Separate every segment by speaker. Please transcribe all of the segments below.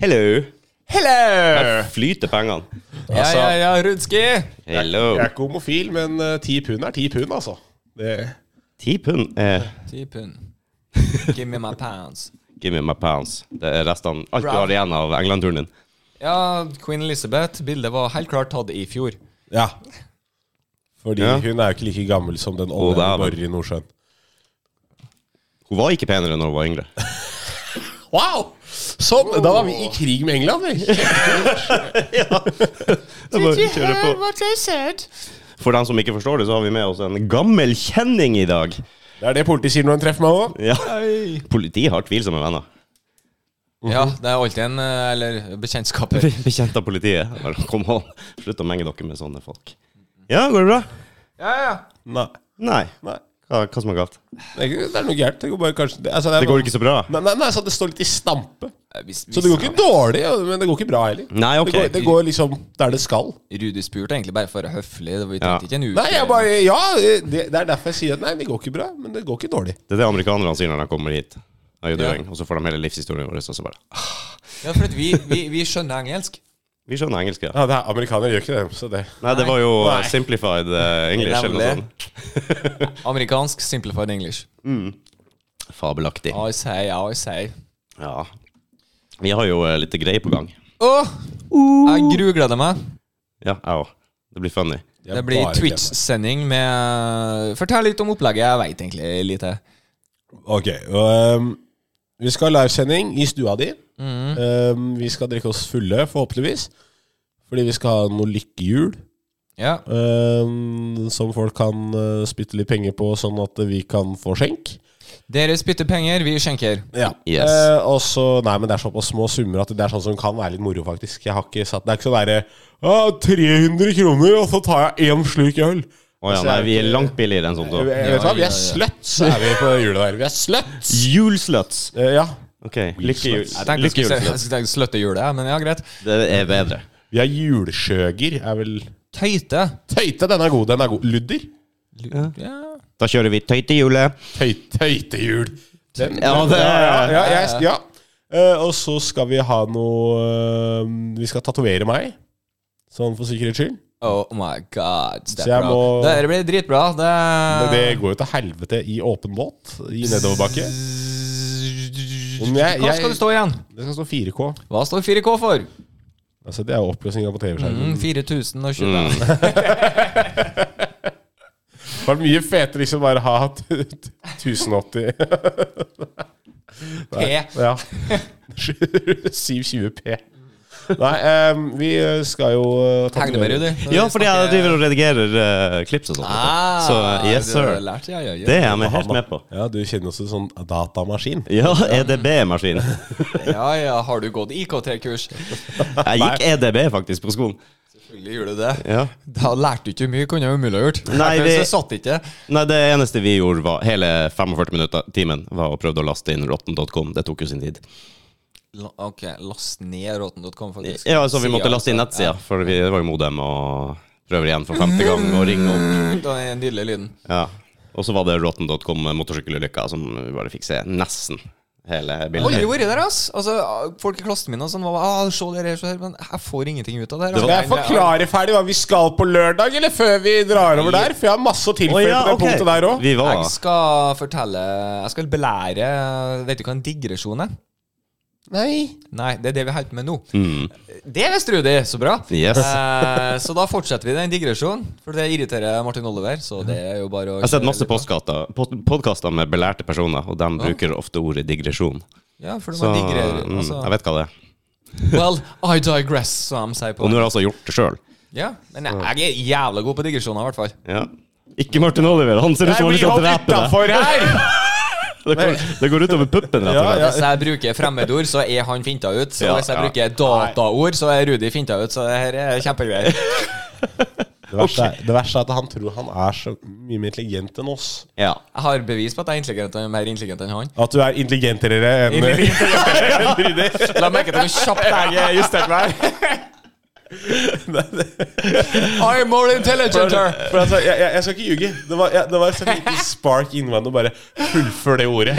Speaker 1: Hello!
Speaker 2: Hello!
Speaker 1: Her flyter pengene.
Speaker 2: Ja, ja, ja, Rudski!
Speaker 1: Hello.
Speaker 3: Altså, Jeg er ikke homofil, men eh, ti pund er ti pund, altså. Det,
Speaker 1: Ti pund Eh, er
Speaker 2: Ti pund. Give me my pounds.
Speaker 1: give me my pounds. Det er resten, alt du har igjen av England-turen din.
Speaker 2: Ja, Queen Elizabeth. Bildet var helt klart tatt i fjor.
Speaker 3: ja. Fordi
Speaker 1: Ja.
Speaker 3: hun er jo ikke like gammel som den
Speaker 1: Å,
Speaker 3: olja
Speaker 1: dæven.
Speaker 3: vi borer i Nordsjøen.
Speaker 1: Hun var ikke penere når hun var yngre.
Speaker 3: Wow! Sånn! Da var vi i krig med England, vi.
Speaker 1: Jeg bare kjører på. For dem som ikke forstår det, så har vi med oss en gammel kjenning i dag.
Speaker 3: Det er det politiet sier når de treffer meg òg.
Speaker 1: Ja. Politiet har tvilsomme venner.
Speaker 2: Ja, det er alltid en eh, Eller bekjentskaper.
Speaker 1: Bekjent av politiet. Bare, Kom on, slutt å menge dere med sånne folk. Ja, går det bra?
Speaker 2: Ja, ja.
Speaker 3: Nei.
Speaker 1: Nei.
Speaker 3: Nei.
Speaker 1: Hva, hva som er galt?
Speaker 3: Det er, ikke- det er noe gærent. Det går bare kanskje det, altså, det, er
Speaker 1: Det går ikke så bra.
Speaker 3: Nei, nei, nei, så det står litt i stampe.
Speaker 2: Eh, Hvis, hvis
Speaker 3: Så det går ikke dårlig, ja, men det går ikke bra heller.
Speaker 1: Nei, ok.
Speaker 3: det, går, det går liksom der det skal.
Speaker 2: Rudi spurte egentlig bare for å være høflig. det var- Vi
Speaker 1: Ja.
Speaker 2: trengte ikke en uke.
Speaker 3: Nei, jeg bare Ja, det, det er derfor jeg sier at nei, det går ikke bra, men det går ikke dårlig.
Speaker 1: Det er det amerikanerne sier når de kommer hit. How you
Speaker 2: Ja.
Speaker 1: doing? Og så får de hele livshistorien vår, og så bare ah,
Speaker 2: Ja, for at vi, vi, vi skjønner engelsk.
Speaker 1: Vi skjønner engelsk, ja.
Speaker 3: Ja, det er, Amerikanere gjør ikke det, så det
Speaker 1: Nei, det var jo
Speaker 3: Nei.
Speaker 1: eh, simplified eh, English eller noe
Speaker 2: Nemlig.
Speaker 1: sånt.
Speaker 2: Amerikansk simplified English.
Speaker 1: Fabelaktig.
Speaker 2: I say, I say.
Speaker 1: Ja. Vi har jo eh, litt greier på gang.
Speaker 2: Åh, jeg grugleder meg.
Speaker 1: Ja, jeg òg. Det blir funny.
Speaker 3: Jeg
Speaker 2: Det blir
Speaker 3: bare
Speaker 2: Twitch-sending med Fortell litt om opplegget. Jeg veit egentlig lite.
Speaker 3: glemmer. Ok. og, um, vi skal ha livesending i stua di.
Speaker 2: Mm.
Speaker 3: Um, vi skal drikke oss fulle, forhåpentligvis. Fordi vi skal ha noe lykkehjul
Speaker 2: Ja.
Speaker 3: um, som folk kan uh, spytte litt penger på, sånn at vi kan få skjenk.
Speaker 2: Dere spytter penger, vi skjenker.
Speaker 3: Ja.
Speaker 1: Yes.
Speaker 3: Eh, og så, nei, men det er såpass små summer at det er sånn som kan være litt moro, faktisk. Jeg har ikke satt, Det er ikke sånn derre «Ah, 300 kroner, og så tar jeg én sluk
Speaker 1: Å
Speaker 3: øl.
Speaker 1: ja,
Speaker 3: Altså,
Speaker 1: nei,
Speaker 3: jeg-
Speaker 1: vi er langt billigere enn sånt.
Speaker 3: Jeg
Speaker 1: da.
Speaker 3: vet du hva, vi
Speaker 2: ja, ja.
Speaker 3: er sluts, er vi på hjulet der. Vi er sluts!
Speaker 1: Julesluts!
Speaker 3: Eh, ja.
Speaker 1: Ok, lykkehjul.
Speaker 2: Jeg tenkte jeg skulle si- jeg
Speaker 1: Lykkehjulsluts.
Speaker 2: skulle tenke sløttehjulet, ja, men ja, greit.
Speaker 1: Det er bedre.
Speaker 3: Vi er julskjøger, er vel
Speaker 2: Tøyte.
Speaker 3: Tøyte, den er god. Den er god. Ludder?
Speaker 2: Ja.
Speaker 1: Da kjører vi tøytehjulet.
Speaker 3: Tøy, tøytehjul. Den,
Speaker 1: Ja, det-
Speaker 3: ja, ja, ja, jeg- ja. Eh, og så skal vi ha noe eh, Vi skal tatovere meg, sånn for sikkerhets skyld.
Speaker 2: Oh my god.
Speaker 3: Så jeg må-
Speaker 2: Det blir dritbra. Det,
Speaker 3: Men
Speaker 2: Eh.
Speaker 3: det går jo til helvete i åpen båt i nedoverbakke. Om jeg-
Speaker 2: Hva skal
Speaker 3: jeg-
Speaker 2: det stå igjen?
Speaker 3: Det skal stå 4K.
Speaker 2: Hva står 4K for?
Speaker 3: Altså, det er oppløsninga på TV-skjermen.
Speaker 2: Mm, 4020.
Speaker 1: Mm.
Speaker 3: Det var mye fetere liksom bare ha t- t- 1080
Speaker 2: P.
Speaker 3: Ja. 720P. Nei, em, vi skal jo eh,
Speaker 2: Tegner meg, Rudi.
Speaker 1: Ja, fordi jeg driver og redigerer eh, klips og sånt.
Speaker 2: ah,
Speaker 1: Så eh, yes,
Speaker 2: du
Speaker 1: sir.
Speaker 2: har lært, ja, ja, ja.
Speaker 1: Det er jeg med, helt med på.
Speaker 3: Ja, du kjenner oss som en sånn datamaskin.
Speaker 1: Ja, E EDB-maskin.
Speaker 2: ja, ja, har du gått IKT-kurs?
Speaker 1: Jeg gikk EDB faktisk på skolen.
Speaker 2: Selvfølgelig gjorde du det.
Speaker 1: Ja.
Speaker 2: Da lærte du ikke mye, kunne jeg umulig ha gjort.
Speaker 1: Nei,
Speaker 2: Derfor
Speaker 1: vi-
Speaker 2: så satt ikke.
Speaker 1: Nei, det eneste vi gjorde var hele 45 minutter, timen, var å prøve å laste inn rotten.com. Det tok jo sin tid.
Speaker 2: La- Ok, last ned rotten.com, faktisk.
Speaker 1: Ja, altså vi måtte
Speaker 2: Siden,
Speaker 1: laste inn
Speaker 2: altså.
Speaker 1: nettsida, for vi, det var jo modem og prøver igjen for femte gang og ringe opp.
Speaker 2: Ja, Den nydelige lyden.
Speaker 1: Ja. Og så var det rotten.com motorsykkelulykka som vi bare fikk se nesten hele
Speaker 2: Aldri
Speaker 1: bildet.
Speaker 2: vært der, ass. Altså, folk i klassen min og sånn var bare, ah, se der, se der, men jeg får ingenting ut av det her. altså.
Speaker 1: Det
Speaker 3: Skal jeg forklare ferdig hva vi skal på lørdag, eller før vi drar over der? For jeg har masse å tilføye
Speaker 1: Å ja,
Speaker 3: på det
Speaker 1: ok.
Speaker 3: punktet der òg.
Speaker 1: Vi var
Speaker 2: Jeg skal fortelle Jeg skal belære Vet du hva en digresjon er?
Speaker 3: Nei.
Speaker 2: Nei, det er det vi holder på med nå.
Speaker 1: mm.
Speaker 2: Det visste Rudi! Så bra.
Speaker 1: Yes.
Speaker 2: Eh, så da fortsetter vi den digresjonen, for det irriterer Martin Oliver. Så det er jo bare å
Speaker 1: Jeg har sett
Speaker 2: kjøre
Speaker 1: masse
Speaker 2: litt på.
Speaker 1: podkaster med belærte personer, og de bruker ofte ordet digresjon.
Speaker 2: Ja, for
Speaker 1: Så
Speaker 2: man digrer
Speaker 1: mm,
Speaker 2: altså.
Speaker 1: jeg vet hva det er.
Speaker 2: Well, I digress, som de sier på
Speaker 1: Og nå har jeg altså gjort det sjøl.
Speaker 2: Ja, men jeg er jævla god på digresjoner, i hvert fall.
Speaker 1: Ja. Ikke Martin Oliver. Han ser ut som han har lyst til å drepe deg.
Speaker 3: utafor her!
Speaker 1: Det går, det går utover puppen, rett og
Speaker 3: Ja,
Speaker 1: slett.
Speaker 3: ja.
Speaker 2: Hvis jeg bruker fremmedord, så er han finta ut. Så
Speaker 1: Ja,
Speaker 2: hvis jeg
Speaker 1: ja.
Speaker 2: bruker dataord, så er Rudi finta ut. Så det her er kjempegreier.
Speaker 3: Det verste, er, det verste er at han tror han er så mye mer intelligent enn oss.
Speaker 1: Ja.
Speaker 2: Jeg har bevis på at jeg er intelligent, mer intelligent enn han.
Speaker 3: At du er intelligentere enn
Speaker 2: La meg merke til hvor kjapt jeg justerte meg. I'm more intelligenter!
Speaker 3: For altså, jeg, jeg, jeg skal ikke ljuge. Det var, jeg, det var et lite spark inni meg å bare fullføre det ordet.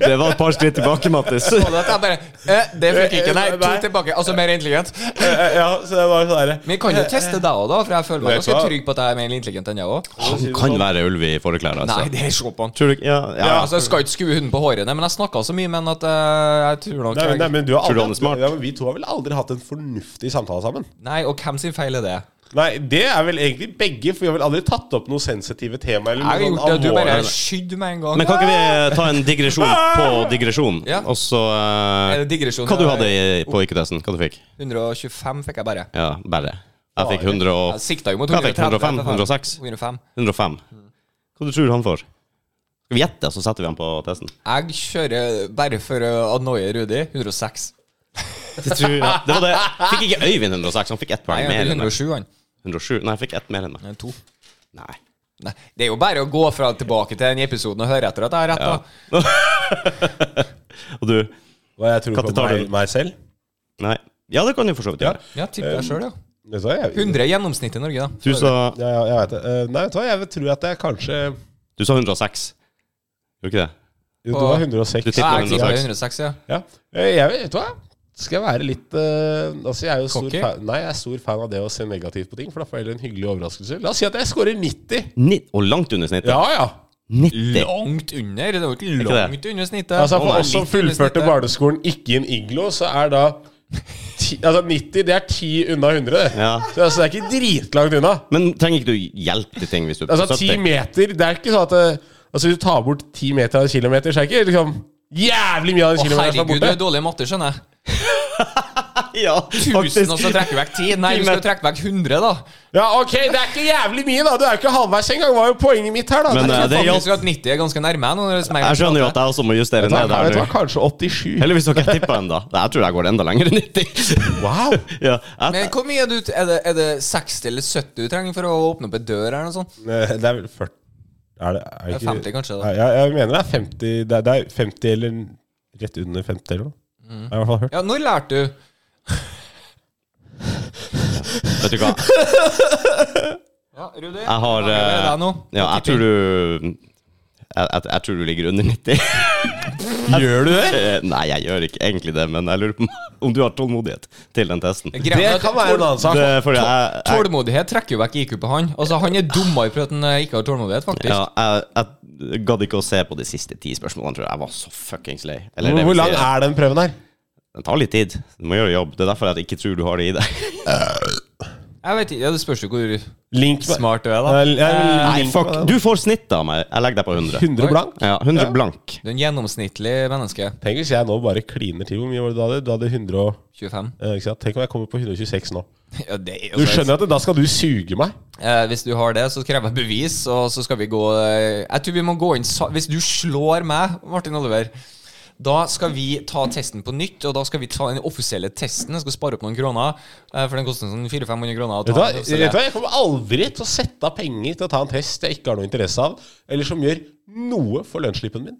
Speaker 1: Det var et par skritt tilbake, Mattis.
Speaker 2: Og da tenkte jeg bare eh, Det funker ikke, nei. To
Speaker 3: Nei.
Speaker 2: tilbake. Altså mer intelligent.
Speaker 3: Eh, eh, Ja, så det var sånn herre
Speaker 2: Men vi kan jo teste deg òg, da, for jeg føler meg
Speaker 3: Vet du
Speaker 2: ganske
Speaker 3: hva?
Speaker 2: trygg på at jeg er mer intelligent enn jeg òg.
Speaker 1: Han kan være ulv i forklær,
Speaker 2: Nei,
Speaker 1: altså.
Speaker 2: det er se på han.
Speaker 1: Tror du ikke ja, ja.
Speaker 2: Ja, altså, jeg skal ikke skue hunden på hårene, men jeg snakka så mye med han at eh, jeg tror nok
Speaker 3: Nei, men, nei, men du har
Speaker 1: Tror du
Speaker 3: aldri,
Speaker 1: han er smart?
Speaker 3: Ja, men vi to har vel aldri hatt en fornuftig samtale sammen?
Speaker 2: Nei, og hvem sin feil er det?
Speaker 3: Nei, det er vel egentlig begge, for vi har vel aldri tatt opp noe sensitive tema. Eller
Speaker 2: Jeg har
Speaker 3: noe sånn
Speaker 2: gjort det, du
Speaker 3: alvorlig.
Speaker 2: bare skydde med en gang.
Speaker 1: Men kan ikke vi eh, ta en digresjon på digresjon?
Speaker 2: Ja.
Speaker 1: Og så eh,
Speaker 2: Er det digresjon?
Speaker 1: Hva du hadde i- på IQ-testen? Hva du fikk?
Speaker 2: 125 fikk jeg bare.
Speaker 1: Ja, bare. Jeg fikk
Speaker 3: Bare.
Speaker 1: 100 og
Speaker 2: Jeg sikta jo mot
Speaker 1: Hva fikk
Speaker 2: 130,
Speaker 1: 105?
Speaker 2: for faen.
Speaker 1: 106?
Speaker 2: 105.
Speaker 1: 105. Hva du tror han får? Skal vi gjette, så setter vi han på testen?
Speaker 2: Jeg kjører bare for å annoye Rudi. 106.
Speaker 1: Det, tror jeg. det var det. Fikk ikke Øyvind 106, han fikk ett
Speaker 2: Nei,
Speaker 1: poeng
Speaker 2: jeg
Speaker 1: mer
Speaker 2: fikk
Speaker 1: enn meg.
Speaker 2: 107, han.
Speaker 1: 107. Nei, jeg fikk ett mer enn meg.
Speaker 2: Nei, To.
Speaker 1: Nei.
Speaker 2: Nei, det er jo bare å gå fra tilbake til den episoden og høre etter at jeg har rett. da
Speaker 1: Og du?
Speaker 3: Hva jeg tror
Speaker 1: Katte
Speaker 3: på
Speaker 1: tar
Speaker 3: meg,
Speaker 1: den.
Speaker 3: meg selv?
Speaker 1: Nei. Ja, det kan du for så vidt
Speaker 3: Ja.
Speaker 1: gjøre.
Speaker 2: Ja, tipp deg sjøl, ja.
Speaker 3: Vet du hva, jeg,
Speaker 2: 100 i gjennomsnitt i Norge, da.
Speaker 1: Du sa,
Speaker 3: ja, ja, jeg vet det. Eh, Nei, vet du hva, jeg tror at jeg kanskje
Speaker 1: du sa 106. Gjorde ikke det?
Speaker 3: Jo,
Speaker 2: På-
Speaker 3: det var
Speaker 1: Du
Speaker 3: 106.
Speaker 1: tipper
Speaker 2: Ja,
Speaker 1: på
Speaker 2: jeg tipper
Speaker 1: 106.
Speaker 2: 106, ja.
Speaker 3: Ja. Eh, Jeg vet, vet du hva? Skal jeg være litt eh, Altså, jeg er jo stor
Speaker 2: Cocky?
Speaker 3: fan, nei, jeg er stor fan av det å se negativt på ting, for da får jeg heller en hyggelig overraskelse. La oss si at jeg scorer 90.
Speaker 1: Ni og langt under snittet.
Speaker 3: Ja, ja.
Speaker 1: 90.
Speaker 2: Langt under. Det er jo ikke
Speaker 1: ikke det?
Speaker 2: langt under snittet.
Speaker 3: Altså,
Speaker 2: Å,
Speaker 3: for
Speaker 2: nei,
Speaker 3: oss som
Speaker 2: litt under
Speaker 3: fullførte
Speaker 2: snittet.
Speaker 3: barneskolen ikke i en iglo, så er da ti, Altså, 90, det er 10 unna 100, det.
Speaker 1: Ja.
Speaker 3: Så altså, det er ikke dritlangt unna.
Speaker 1: Men trenger ikke du hjelp til ting hvis du er
Speaker 3: Altså, 10 meter Det er ikke sånn at eh, Altså, hvis du tar bort 10 meter av en kilometer, så er det ikke liksom jævlig mye av en
Speaker 2: Å,
Speaker 3: kilometer som er
Speaker 2: herregud, du
Speaker 3: borte.
Speaker 2: er dårlig i matte, skjønner jeg.
Speaker 1: Ja,
Speaker 2: 1000, og så trekker vi vekk 10. Nei, vi skal trekke vekk 100, da.
Speaker 3: Ja, ok, det er ikke jævlig mye, da. Du er jo ikke halvveis engang, var jo poenget mitt her, da.
Speaker 1: Men, eh,
Speaker 3: det
Speaker 2: Jeg
Speaker 3: er ikke
Speaker 1: det
Speaker 2: tror
Speaker 1: hjalp.
Speaker 2: faktisk at 90 er ganske nærme. nå, når det smeller
Speaker 1: Jeg skjønner jo at jeg også må justere
Speaker 3: Nei,
Speaker 1: ned
Speaker 3: vet
Speaker 1: der
Speaker 3: du hva,
Speaker 1: nå.
Speaker 3: kanskje 87.
Speaker 1: Heldigvis dere tippa en, da. Jeg tror jeg går enda lenger enn 90.
Speaker 3: Wow!
Speaker 1: ja, jeg,
Speaker 2: Men hvor mye er, du, er, det, er det 60 eller 70 du trenger for å åpne opp en dør? eller noe sånt?
Speaker 3: eh, Det er vel 40 Er det er
Speaker 2: Det er 50 kanskje, da.
Speaker 3: Nei, Jeg, jeg mener det er 50 det er, det er 50 eller rett under 50 eller noe.
Speaker 1: Mm.
Speaker 3: Jeg har i hvert fall hørt.
Speaker 2: Ja, når lærte du?
Speaker 1: vet du hva?
Speaker 2: Ja, Rudi.
Speaker 1: Jeg har
Speaker 2: det er
Speaker 1: eh,
Speaker 2: deg nå.
Speaker 1: Ja, jeg tror du jeg, jeg, jeg tror du ligger under 90.
Speaker 3: Gjør du det?
Speaker 1: Eh, Nei, jeg gjør ikke egentlig det, men jeg lurer på om du har tålmodighet til den testen. Det
Speaker 2: Greia er at
Speaker 3: Det kan være en annen sak.
Speaker 1: er fordi jeg, jeg,
Speaker 2: Tålmodighet trekker jo vekk IQ på han. Altså, Han er dummere for at han eh, ikke har tålmodighet, faktisk.
Speaker 1: ja, jeg, jeg gadd ikke å se på de siste ti spørsmålene, tror jeg. Jeg var så fuckings lei. Eller det
Speaker 3: Hvor,
Speaker 1: vil
Speaker 3: hvor
Speaker 1: si,
Speaker 3: lang er den prøven her?
Speaker 1: Den tar litt tid. Du må gjøre jobb. Det er derfor jeg ikke tror du har det i deg.
Speaker 2: Jeg vet ikke, ja, Det spørs jo hvor
Speaker 3: Link med-
Speaker 2: smart du er, da.
Speaker 3: Nei, jeg-
Speaker 1: Eh, Nei,
Speaker 3: link
Speaker 1: fuck.
Speaker 3: med-
Speaker 1: Du får snittet av meg. Jeg legger deg på 100.
Speaker 3: 100 blank?
Speaker 1: Ja, 100 blank.
Speaker 2: Du er en gjennomsnittlig menneske.
Speaker 3: Tenk hvis jeg nå bare kliner til. Hvor mye var det du hadde? Du hadde 100 og
Speaker 2: 25.
Speaker 3: eh, ikke sant? Tenk om jeg kommer på 126 nå.
Speaker 2: Ja, det er jo
Speaker 3: Du
Speaker 2: så-
Speaker 3: skjønner at det- da skal du suge meg?
Speaker 2: Eh, hvis du har det, så krever jeg bevis, og så skal vi gå eh, Jeg tror vi må gå inn sa- Hvis du slår meg, Martin Oliver, da skal vi ta testen på nytt, og da skal vi ta den offisielle testen. Jeg skal spare opp noen kroner, eh, for den koster sånn 400-500 kroner. å ta
Speaker 3: Vet du, hva,
Speaker 2: den
Speaker 1: sånn,
Speaker 2: offisielle.
Speaker 3: vet du hva, Jeg kommer aldri til å sette av penger til å ta en test jeg ikke har noe interesse av, eller som gjør noe for lønnsslippen min.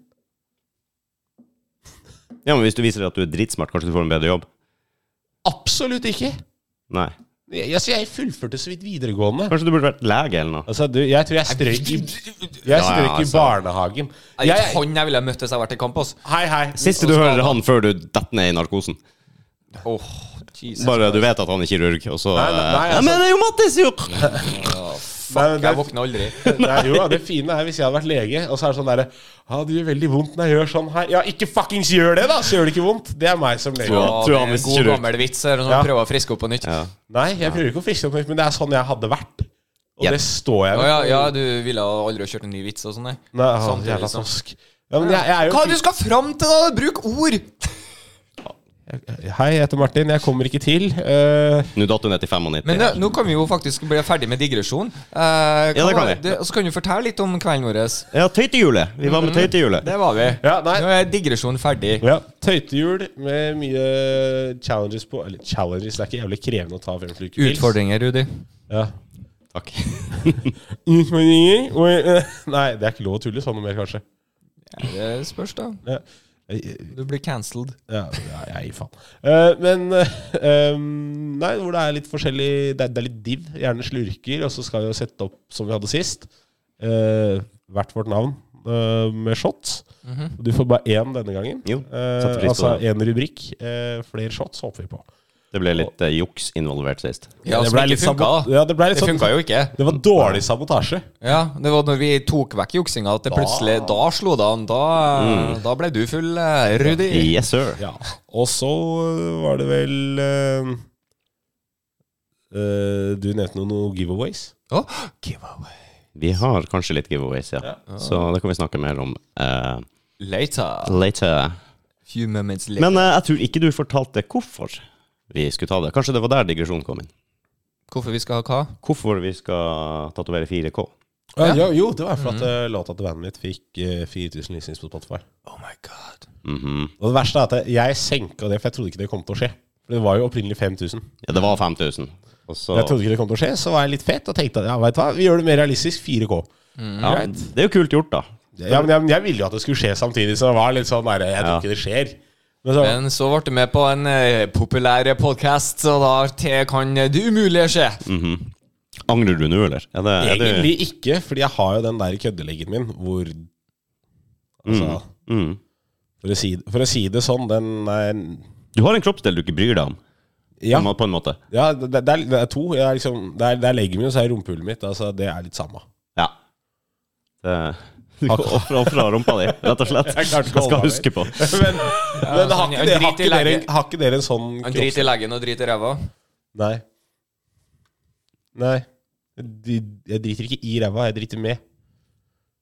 Speaker 1: Ja, men hvis du viser at du er dritsmart, kanskje du får en bedre jobb?
Speaker 3: Absolutt ikke.
Speaker 1: Nei.
Speaker 3: Jeg, altså, jeg fullførte så vidt videregående.
Speaker 1: Kanskje du burde vært lege eller noe?
Speaker 3: Altså, du, jeg tror jeg strøyk i, jeg
Speaker 1: ja,
Speaker 3: strøyk i
Speaker 1: altså.
Speaker 3: barnehagen.
Speaker 2: Det er
Speaker 3: Jeg,
Speaker 2: ikke han jeg ville ha møtt hvis jeg hadde vært i kamp. ass.
Speaker 3: hei, hei.
Speaker 1: Siste du hører han før du detter ned i narkosen.
Speaker 2: Åh, Jesus.
Speaker 1: Bare du vet at han er kirurg, og så
Speaker 3: Nei, nei, altså- nei,
Speaker 1: Ja, Men det er jo Mattis, jo!
Speaker 3: Nei, men
Speaker 2: Jeg
Speaker 3: det,
Speaker 2: våkner aldri.
Speaker 3: nei, jo, det fine er hvis jeg hadde vært lege, og så er det sånn derre Ja, det gjør veldig vondt når jeg gjør sånn her. Ja, ikke fuckings gjør det, da! Så gjør det ikke vondt. Det er meg som lege.
Speaker 1: Ja,
Speaker 2: Ja,
Speaker 1: tror
Speaker 2: det er
Speaker 1: han
Speaker 2: en
Speaker 1: visste
Speaker 2: god
Speaker 1: kirurg.
Speaker 2: gammel vits her, og
Speaker 3: Ja.
Speaker 2: så prøver jeg å friske opp på nytt.
Speaker 1: Ja.
Speaker 3: Nei, jeg prøver ikke å friske opp noe, men det er sånn jeg hadde vært. Og
Speaker 1: Ja.
Speaker 3: det står jeg
Speaker 2: Å
Speaker 3: ved.
Speaker 2: ja, ja, du ville aldri ha kjørt en ny vits og sånn, nei.
Speaker 3: Nei, ja,
Speaker 2: Samtidig
Speaker 3: jævla
Speaker 2: som-
Speaker 3: tosk. Ja, men jeg, jeg er jo
Speaker 2: Hva du skal fram til, da? Bruk ord!
Speaker 3: Hei, jeg heter Martin. Jeg kommer ikke til. Eh,
Speaker 1: Nå datt du ned til 95.
Speaker 2: Men
Speaker 1: her.
Speaker 2: eh, nå kan vi jo faktisk bli ferdig med digresjon.
Speaker 1: Ja,
Speaker 2: Eh,
Speaker 1: det kan vi.
Speaker 2: var- Og så kan du fortelle litt om kvelden vår.
Speaker 1: Ja, tøytehjulet. Vi var med
Speaker 3: Mm.
Speaker 1: tøytehjulet.
Speaker 2: Det var vi.
Speaker 3: Ja, nei.
Speaker 2: Nå er digresjonen ferdig.
Speaker 3: ja, Tøytehjul med mye challenges på. Eller challenges, det er ikke jævlig krevende å ta fem slike pils.
Speaker 2: Utfordringer, Rudi.
Speaker 3: Ja.
Speaker 1: Takk.
Speaker 3: Utfordringer og, eh, Nei, det er ikke lov å tulle sånn noe mer, kanskje.
Speaker 2: Det spørs, da.
Speaker 3: Ja. Jeg-
Speaker 2: Du blir cancelled.
Speaker 3: Ja, ja, jeg gir faen. Eh, men eh, um, Nei, hvor det er litt forskjellig Det er, det er litt div. Gjerne slurker. Og så skal vi jo sette opp, som vi hadde sist, eh, hvert vårt navn eh, med shots. Du får bare én denne gangen.
Speaker 1: Jo,
Speaker 3: Eh,
Speaker 1: setter pris på
Speaker 3: altså
Speaker 1: det.
Speaker 3: én rubrikk. eh, flere shots håper vi på.
Speaker 1: Det ble litt eh, juks involvert sist.
Speaker 2: Ja,
Speaker 3: det
Speaker 2: som
Speaker 3: ble
Speaker 2: ikke
Speaker 3: litt
Speaker 2: funka,
Speaker 3: sabo-
Speaker 2: da.
Speaker 3: ja, det ble litt
Speaker 2: Det
Speaker 3: sånn
Speaker 2: funka jo ikke.
Speaker 3: Det var dårlig sabotasje.
Speaker 2: Ja, Det var når vi tok vekk juksinga at det plutselig Da slo det an. Da, da ble du full, eh, Rudi.
Speaker 1: Yes, sir.
Speaker 3: Ja. Og så øh, var det vel øh, øh, Du nevnte noen, noen giveaways.
Speaker 2: Å, giveaway.
Speaker 1: Vi har kanskje litt giveaways, ja.
Speaker 3: Ja.
Speaker 1: Så det kan vi snakke mer om eh,
Speaker 2: Later.
Speaker 1: later.
Speaker 2: Few moments later.
Speaker 1: Men eh, jeg tror ikke du fortalte hvorfor vi skulle ta det. Kanskje det var der digresjonen kom inn.
Speaker 2: Hvorfor vi skal ha hva?
Speaker 1: Hvorfor vi skal tatovere 4K.
Speaker 3: Ja. Jo, jo, det var for
Speaker 2: Mhm.
Speaker 3: at øh, låta til bandet mitt fikk øh, 4000 listings på Spotify.
Speaker 2: Oh my god.
Speaker 1: Mhm.
Speaker 3: Og det verste er at jeg senka det, for jeg trodde ikke det kom til å skje. For det var jo opprinnelig 5000.
Speaker 1: Ja, det var 5000. Og så
Speaker 3: Jeg trodde ikke det kom til å skje, så var jeg litt fet og tenkte at ja, vet du hva, vi gjør det mer realistisk. 4K.
Speaker 1: ja, Det er jo kult gjort, da.
Speaker 3: Ja, men jeg, men jeg ville jo at det skulle skje samtidig, så det var litt sånn der, Jeg tror
Speaker 1: Ja.
Speaker 3: ikke det skjer. Men så,
Speaker 2: Men så ble du med på en eh, populær podkast, og da til kan det umulige skje.
Speaker 3: Mm.
Speaker 1: Angrer du nå, eller? Er det, er det,
Speaker 3: Egentlig ikke, fordi jeg har jo den der køddeleggen min hvor Altså,
Speaker 1: Mm.
Speaker 3: for, å si, for å si det sånn, den er
Speaker 1: Du har en kroppsdel du ikke bryr deg om,
Speaker 3: Ja,
Speaker 1: på en måte.
Speaker 3: ja det, det, er, det er to. Jeg er liksom, det, er, det er leggen min, og så er det rumpehullet mitt. Altså, det er litt samme.
Speaker 1: Ja. Det, du kan ofre ofre rumpa di, rett og slett.
Speaker 3: Jeg
Speaker 1: Jeg
Speaker 3: klarte ikke å holde
Speaker 1: skal
Speaker 3: meg.
Speaker 1: huske på.
Speaker 3: Men,
Speaker 2: han-
Speaker 3: men har, ikke
Speaker 2: han driter
Speaker 3: dere, har,
Speaker 2: i
Speaker 3: ikke dere,
Speaker 2: legge.
Speaker 3: har ikke dere en sånn
Speaker 2: Han driter i leggen og driter i ræva.
Speaker 3: Nei. Nei. Jeg dri- Jeg driter ikke i ræva, jeg driter med.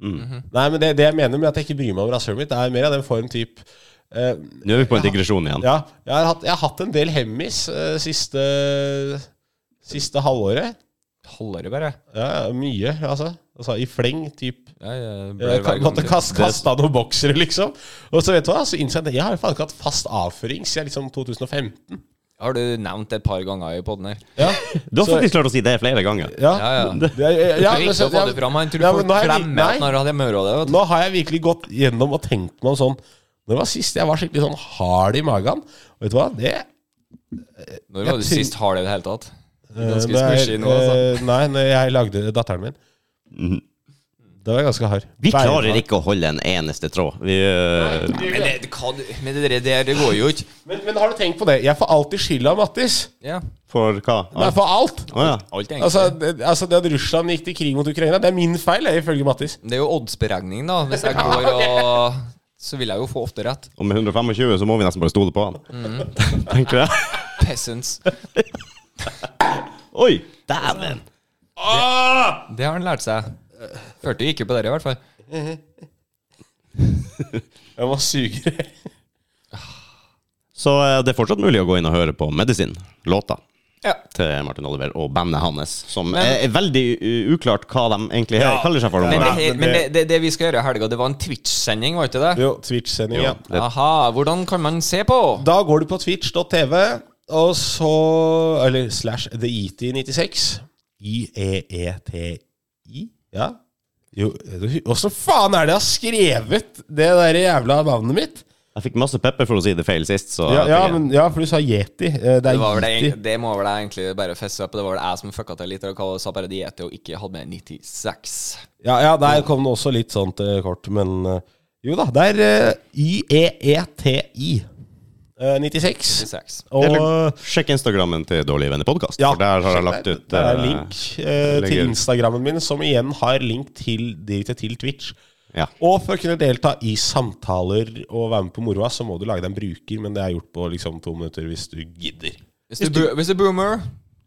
Speaker 1: Mm.
Speaker 3: Nei, men det, det jeg mener med at jeg ikke bryr meg om rasshølet mitt, er mer av den form type eh,
Speaker 1: Nå er vi på en digresjon igjen.
Speaker 3: Ja, jeg har hatt, jeg har hatt en del hemmis eh, siste, siste halvåret.
Speaker 2: Holder det bare.
Speaker 3: Ja, ja, mye, altså. altså. I fleng, typ.
Speaker 2: Ja, jeg ble
Speaker 3: Jeg
Speaker 2: hver
Speaker 3: kan-
Speaker 2: gang
Speaker 3: måtte
Speaker 2: til-
Speaker 3: kast, kaste av noen boksere, liksom. Og så vet du hva, så innså jeg at jeg har jo faen ikke hatt fast avføring siden liksom 2015.
Speaker 2: Har du nevnt et par ganger i podden her?
Speaker 3: Ja,
Speaker 1: Du har
Speaker 3: så-
Speaker 1: faktisk klart å si det flere ganger.
Speaker 3: ja.
Speaker 2: Ja, ja.
Speaker 3: Det- jeg- jeg- ja,
Speaker 2: Det er
Speaker 3: men
Speaker 2: viktig
Speaker 3: så-
Speaker 2: å få det
Speaker 3: ja,
Speaker 2: fram. Han tror
Speaker 3: ja, men
Speaker 2: folk
Speaker 3: nå har jeg-
Speaker 2: glemmer
Speaker 3: nei.
Speaker 2: at når han har møra det.
Speaker 3: Nå har jeg virkelig gått gjennom og tenkt meg om sånn Når det var sist jeg var skikkelig sånn hard i magen? Vet du hva, det
Speaker 2: Når var du
Speaker 3: Jeg tror-
Speaker 2: sist hard i det hele tatt? Du er Ganske
Speaker 3: Eh, når jeg-
Speaker 2: squishy nå, altså.
Speaker 3: eh, Nei, når jeg lagde datteren min.
Speaker 1: Mhm.
Speaker 3: Det var ganske hard.
Speaker 1: Vi klarer ikke å holde en eneste tråd. Vi, øh,
Speaker 2: Men det, hva, du- men det der det går jo ikke.
Speaker 3: Men, men har du tenkt på det? Jeg får alltid skylda av Mattis.
Speaker 2: Ja,
Speaker 1: for hva?
Speaker 3: Nei, for alt.
Speaker 1: Å ja.
Speaker 2: alt er egentlig.
Speaker 3: Altså det, altså, det at Russland gikk til krig mot Ukraina, det er min feil, det, ifølge Mattis.
Speaker 2: det er jo oddsberegning, da. Hvis jeg går og Så vil jeg jo få ofte rett.
Speaker 1: Og med 125 så må vi nesten bare stole på han.
Speaker 2: Mm.
Speaker 1: Tenker jeg.
Speaker 2: Peasants.
Speaker 1: Oi! Dæven!
Speaker 2: Det har han lært seg. Følte jo ikke på det i hvert fall.
Speaker 3: Jeg må suge det.
Speaker 1: Så eh, det er fortsatt mulig å gå inn og høre på Medisin, låta
Speaker 2: Ja.
Speaker 1: til Martin Oliver og bandet hans, som
Speaker 2: Men-
Speaker 1: er, er veldig u- uklart hva de egentlig
Speaker 3: Ja.
Speaker 1: kaller seg for. om
Speaker 2: Men, det,
Speaker 1: dagen.
Speaker 2: her, men det, det, det vi skal gjøre i helga, det var en Twitch-sending, var ikke det?
Speaker 3: Jo, Twitch-sending. Ja.
Speaker 1: Det-
Speaker 2: Aha, hvordan kan man se på?
Speaker 3: Da går du på twitch.tv, og så Eller slash E TheET96. E I-e-e-t-i? Ja. Jo, eh, åssen faen er det jeg har skrevet det der jævla navnet mitt?
Speaker 1: Jeg fikk masse pepper for å si det feil sist, så
Speaker 3: Ja,
Speaker 1: jeg
Speaker 3: ja,
Speaker 1: tenker-
Speaker 3: men, ja for du sa yeti. Eh, Det
Speaker 2: Det, var
Speaker 3: er
Speaker 2: vel
Speaker 3: yeti.
Speaker 2: det, det må vel jeg egentlig bare feste på. Det var vel jeg som fucka til litt og hva- sa bare diete og ikke hadde med 96.
Speaker 3: Ja, ja, der kom det også litt sånn til kort, men eh, jo da. Det er eh, YEETI eh, 96.
Speaker 2: 96.
Speaker 3: Og
Speaker 1: Eller, sjekk Instagrammen til Dårlige venner podkast, for der har jeg lagt ut
Speaker 3: det er
Speaker 1: eh,
Speaker 3: link eh, til
Speaker 1: ligger-
Speaker 3: Instagrammen min, som igjen har link til, direkte til Twitch.
Speaker 1: Ja.
Speaker 3: Og for å kunne delta i samtaler og være med på moroa, så må du lage deg en bruker, men det er gjort på liksom to minutter hvis du gidder.
Speaker 2: Hvis du, bo- hvis du boomer,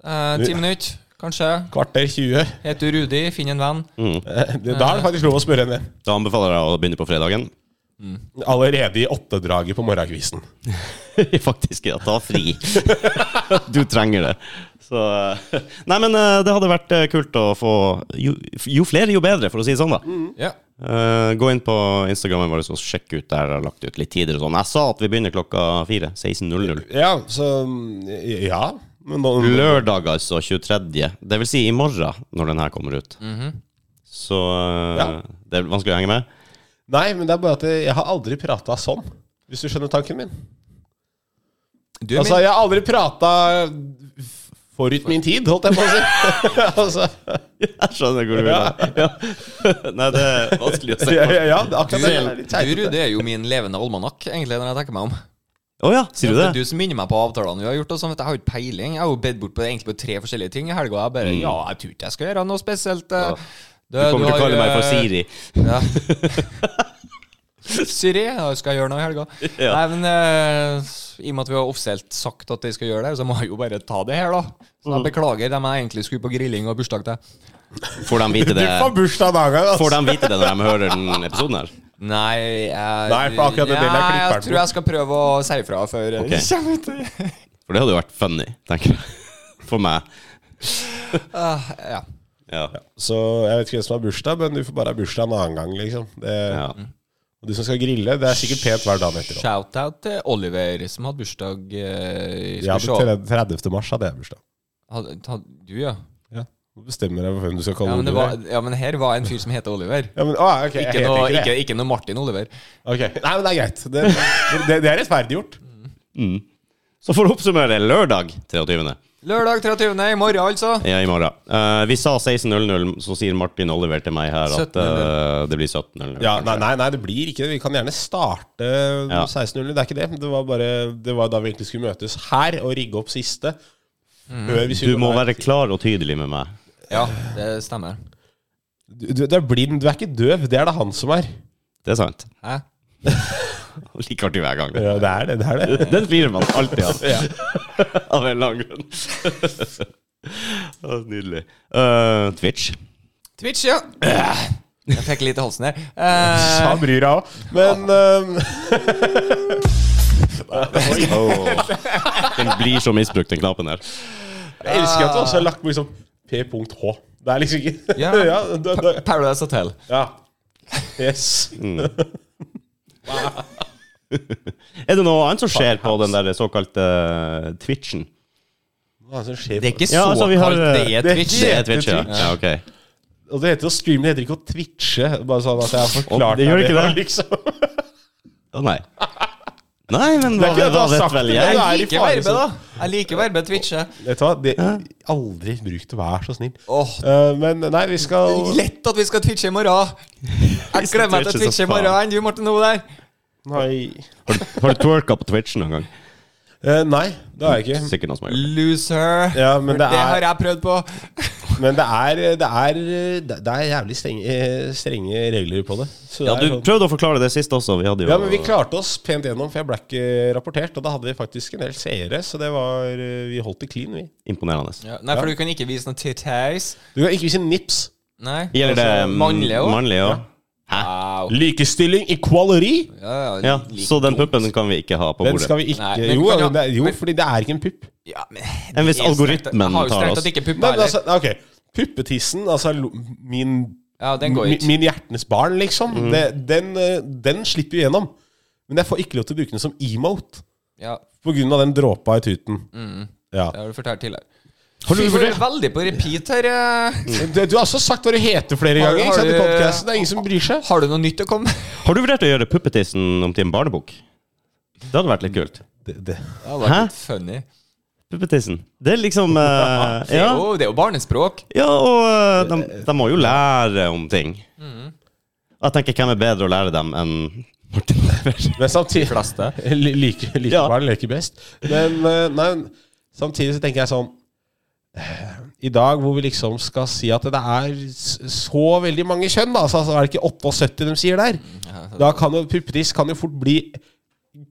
Speaker 2: eh, ti minutter kanskje,
Speaker 3: Kvarter 20.
Speaker 2: heter du Rudi, finn en venn.
Speaker 3: Eh, det- Da er det faktisk lov å spørre en venn.
Speaker 1: Da anbefaler jeg å begynne på fredagen.
Speaker 3: Allerede i åttedraget på morgenkvisten.
Speaker 1: Faktisk, ja. Ta fri. Du trenger det. Så eh, Nei, men eh, det hadde vært eh, kult å få Jo, jo flere, jo bedre, for å si det sånn, da.
Speaker 2: Ja.
Speaker 1: Eh, gå inn på Instagrammen vår og sjekk ut der jeg har lagt ut litt tider og sånn. Jeg sa at vi begynner klokka fire. 16.00.
Speaker 3: Ja, så mm, Ja. Men nå,
Speaker 1: Lørdag, altså. 23. Det vil si i morgen, når den her kommer ut. Så eh,
Speaker 3: Ja.
Speaker 1: det er vanskelig å henge med.
Speaker 3: Nei, men det er bare at jeg har aldri prata sånn. Hvis du skjønner tanken min.
Speaker 2: Du er
Speaker 3: Altså, jeg har aldri prata forut min tid, holdt jeg på å si. altså,
Speaker 1: Jeg skjønner hvor du vil. hen. Ja. Nei, det er vanskelig å se.
Speaker 3: ja,
Speaker 1: Å
Speaker 3: ja, ja, det er akkurat det. det. er
Speaker 2: min,
Speaker 3: litt
Speaker 2: du,
Speaker 3: teit.
Speaker 2: Rude, er jo min levende almanakk, egentlig, når jeg tenker meg om.
Speaker 1: ja, sier du
Speaker 2: Det
Speaker 1: det?
Speaker 2: er du som minner meg på avtalene vi har gjort. Og sånn, vet du, jeg har jo ikke peiling. Jeg har jo bedt bort på egentlig på tre forskjellige ting i helga. Jeg bare Ja, jeg tror ikke jeg skal gjøre noe spesielt. eh.
Speaker 1: Mm. Du kommer til å
Speaker 2: har,
Speaker 1: kalle meg for
Speaker 2: eh,
Speaker 1: Siri.
Speaker 2: Ja. Siri, da skal jeg gjøre noe i helga?
Speaker 1: Ja.
Speaker 2: Nei, men eh, I og med at vi har offisielt sagt at jeg skal gjøre det, så må jeg jo bare ta det her, da. Så
Speaker 1: Mm.
Speaker 2: jeg beklager dem jeg egentlig skulle på grilling og bursdag til.
Speaker 1: Får de vite
Speaker 3: Du
Speaker 1: det
Speaker 3: får bursdag en annen gang,
Speaker 1: Får
Speaker 3: altså.
Speaker 1: de vite det når de hører den episoden her?
Speaker 2: Nei, jeg,
Speaker 3: Nei, for akkurat det bildet
Speaker 2: Nei,
Speaker 3: klipper
Speaker 2: jeg
Speaker 3: den
Speaker 2: tror jeg skal prøve å si ifra før eh,
Speaker 1: Ok.
Speaker 2: det kommer ut.
Speaker 1: For det hadde jo vært funny, tenker jeg. For meg.
Speaker 2: Ah, ja.
Speaker 1: Ja.
Speaker 3: Så jeg vet ikke hvem som har bursdag, men du får bare ha bursdag en annen gang, liksom. Det,
Speaker 1: ja.
Speaker 3: Og du som skal grille, det er sikkert pent hver dag etter. også.
Speaker 2: Shout-out til Oliver, som hadde bursdag eh,
Speaker 3: Jeg
Speaker 2: Skal vi se
Speaker 3: hadde 30. mars hadde jeg bursdag.
Speaker 2: Hadde- hadde Du, ja.
Speaker 3: Ja. Nå bestemmer jeg hvem du skal
Speaker 2: Ja
Speaker 3: kalle
Speaker 2: men, det
Speaker 3: Oliver.
Speaker 2: var, ja, men her var en fyr som heter Oliver.
Speaker 3: Ja, men, å, ok, jeg
Speaker 2: Ikke
Speaker 3: heter
Speaker 2: noe,
Speaker 3: ikke det.
Speaker 2: ikke, ikke noe Martin Oliver.
Speaker 3: Ok, Nei, men det er greit. Det, det, det er rettferdiggjort.
Speaker 1: Mm. Så for å oppsummere, lørdag 23.
Speaker 2: Lørdag 23. i morgen, altså.
Speaker 1: Ja, i morgen. Eh, vi sa 16.00, så sier Martin Oliver til meg her at
Speaker 2: 17.00.
Speaker 1: eh, det blir 17.00.
Speaker 3: Ja, nei, nei, nei, det blir ikke det. Vi kan gjerne starte
Speaker 1: Ja.
Speaker 3: 16.00. Det er ikke det. Det var bare Det var da vi egentlig skulle møtes her og rigge opp siste. Før vi
Speaker 1: Mm. Du
Speaker 3: skulle
Speaker 1: må
Speaker 3: gå der.
Speaker 1: være klar og tydelig med meg.
Speaker 2: Ja, det stemmer.
Speaker 3: du, du, du er blind, du er ikke døv. Det er det han som er.
Speaker 1: Det er sant.
Speaker 2: Hæ?
Speaker 1: Like artig hver gang.
Speaker 3: Ja, det er det. det, er det.
Speaker 1: Den flirer man alltid av.
Speaker 3: Ja.
Speaker 1: Av en lang grunn. Å, Nydelig. Eh, Twitch.
Speaker 2: Twitch, ja. Jeg fikk litt i halsen her.
Speaker 3: Så
Speaker 2: Eh,
Speaker 3: han bryr deg òg. Men øhm,
Speaker 1: Den blir så misbrukt, den knappen her.
Speaker 3: jeg elsker
Speaker 1: Ah.
Speaker 3: at du også har lagt på liksom P.H. Det er liksom ikke
Speaker 2: Ja.
Speaker 3: ja, da- da-
Speaker 2: Paradise Hotel.
Speaker 3: ja. Yes.
Speaker 1: Mm. Er det noe annet som skjer på den der såkalte eh, Twitchen?
Speaker 3: Hva er det som skjer?
Speaker 2: Det er ikke
Speaker 1: Ja, altså, vi
Speaker 2: såkalt,
Speaker 1: har,
Speaker 2: det er
Speaker 3: eh, det-
Speaker 2: Twitch.
Speaker 1: Det er Twitch, ja.
Speaker 3: Twitch.
Speaker 1: ja ok.
Speaker 3: Og det heter å streame, det heter ikke å twitche. Bare sånn at jeg har
Speaker 1: Å,
Speaker 3: forklart
Speaker 1: det gjør
Speaker 3: deg
Speaker 1: ikke det.
Speaker 3: Liksom.
Speaker 1: Å nei. Nei, men
Speaker 3: Det
Speaker 1: hva,
Speaker 3: er ikke det du
Speaker 1: hva
Speaker 3: har
Speaker 1: vet
Speaker 3: sagt,
Speaker 1: vel
Speaker 3: det
Speaker 1: jeg?
Speaker 3: er-
Speaker 2: Jeg
Speaker 3: i
Speaker 2: liker
Speaker 3: fare,
Speaker 2: verbet, da. Jeg liker verbet Twitche.
Speaker 3: Vet du hva? Det, aldri bruk det, vær så snill.
Speaker 2: Åh,
Speaker 3: Eh, men nei, vi skal
Speaker 2: Lett at vi skal twitche i morgen. Jeg gleder meg til å
Speaker 1: Twitche
Speaker 2: twitche
Speaker 1: som
Speaker 2: i morgen enn du, Martin Oliver.
Speaker 3: Nei.
Speaker 1: Har du- Har du twerka på Twitchen noen gang?
Speaker 3: Eh, nei, det har jeg ikke.
Speaker 1: Sikkert noen som har gjort det.
Speaker 2: Loser.
Speaker 3: Ja, men det
Speaker 2: det har
Speaker 3: er,
Speaker 2: jeg prøvd på.
Speaker 3: men det er, det er, det er jævlig strenge, eh, strenge regler på det. Så
Speaker 1: Ja,
Speaker 3: det er
Speaker 1: du
Speaker 3: sånn-
Speaker 1: prøvde å forklare det sist også. Vi hadde jo
Speaker 3: ja, men vi klarte oss pent gjennom, for jeg ble ikke rapportert. Og da hadde vi faktisk en del seere, så det var eh, Vi holdt det clean, vi.
Speaker 1: imponerende.
Speaker 2: Ja, nei, for du kan ikke vise noen titties.
Speaker 3: Du kan ikke vise nips.
Speaker 2: Nei.
Speaker 1: Gjelder
Speaker 2: Altså,
Speaker 1: det mm,
Speaker 2: Mannlige òg?
Speaker 1: mannlige også?
Speaker 2: Wow.
Speaker 3: Likestilling, equality!
Speaker 2: Ja, ja,
Speaker 1: Ja,
Speaker 2: like
Speaker 1: så den
Speaker 2: dumt.
Speaker 1: puppen kan vi ikke ha på
Speaker 3: Den
Speaker 1: bordet.
Speaker 3: skal vi ikke
Speaker 2: Nei, men
Speaker 3: Jo,
Speaker 2: kan du-
Speaker 3: men det er- jo
Speaker 2: men-
Speaker 3: fordi det er ikke en pupp.
Speaker 2: Ja, men
Speaker 1: Men hvis
Speaker 2: det er strengt-
Speaker 1: algoritmen
Speaker 2: jeg har jo
Speaker 1: tar
Speaker 2: strengt
Speaker 1: oss-
Speaker 2: tatt ikke puppa
Speaker 3: Nei, men
Speaker 2: heller.
Speaker 3: altså, ok Puppetissen, altså lo- min,
Speaker 2: Ja, den går
Speaker 3: min,
Speaker 2: ikke.
Speaker 3: min hjertenes barn, liksom.
Speaker 2: Mhm.
Speaker 3: Det, den, eh, den slipper vi gjennom. Men jeg får ikke lov til å bruke den som emote
Speaker 2: Ja,
Speaker 3: pga. den dråpa i tuten.
Speaker 2: Mm.
Speaker 3: Ja.
Speaker 2: det har du fortalt tidligere.
Speaker 1: Har du
Speaker 2: Fy, for du er
Speaker 1: vurdert
Speaker 2: veldig på repeat her. eh.
Speaker 3: Du, du har også sagt hva du heter flere
Speaker 2: Har-
Speaker 3: ganger. Ikke
Speaker 2: har
Speaker 3: sant, i
Speaker 2: du-
Speaker 3: podcasten. Det er ingen som bryr seg.
Speaker 2: Har du noe nytt å komme med?
Speaker 1: Har du vurdert å gjøre Puppetissen om til en barnebok? Det hadde vært litt kult.
Speaker 3: Det, det.
Speaker 2: Det hadde vært
Speaker 1: Hæ?
Speaker 2: litt funny.
Speaker 1: Puppetissen. Det er liksom eh,
Speaker 2: Det er
Speaker 1: ja.
Speaker 2: jo, det er jo barnespråk.
Speaker 1: ja, og eh, de, de må jo lære om ting.
Speaker 2: Mm.
Speaker 1: Jeg tenker, hvem er bedre å lære dem enn Martin Lever?
Speaker 3: Men samtidig
Speaker 2: Fleste.
Speaker 3: Li- Like, like
Speaker 1: Ja.
Speaker 3: barn leker best. Men eh, nei, samtidig så tenker jeg sånn eh, I dag hvor vi liksom skal si at det er s- så veldig mange kjønn, da, så altså, er det ikke 78 de sier der. Da kan jo puppetiss kan jo fort bli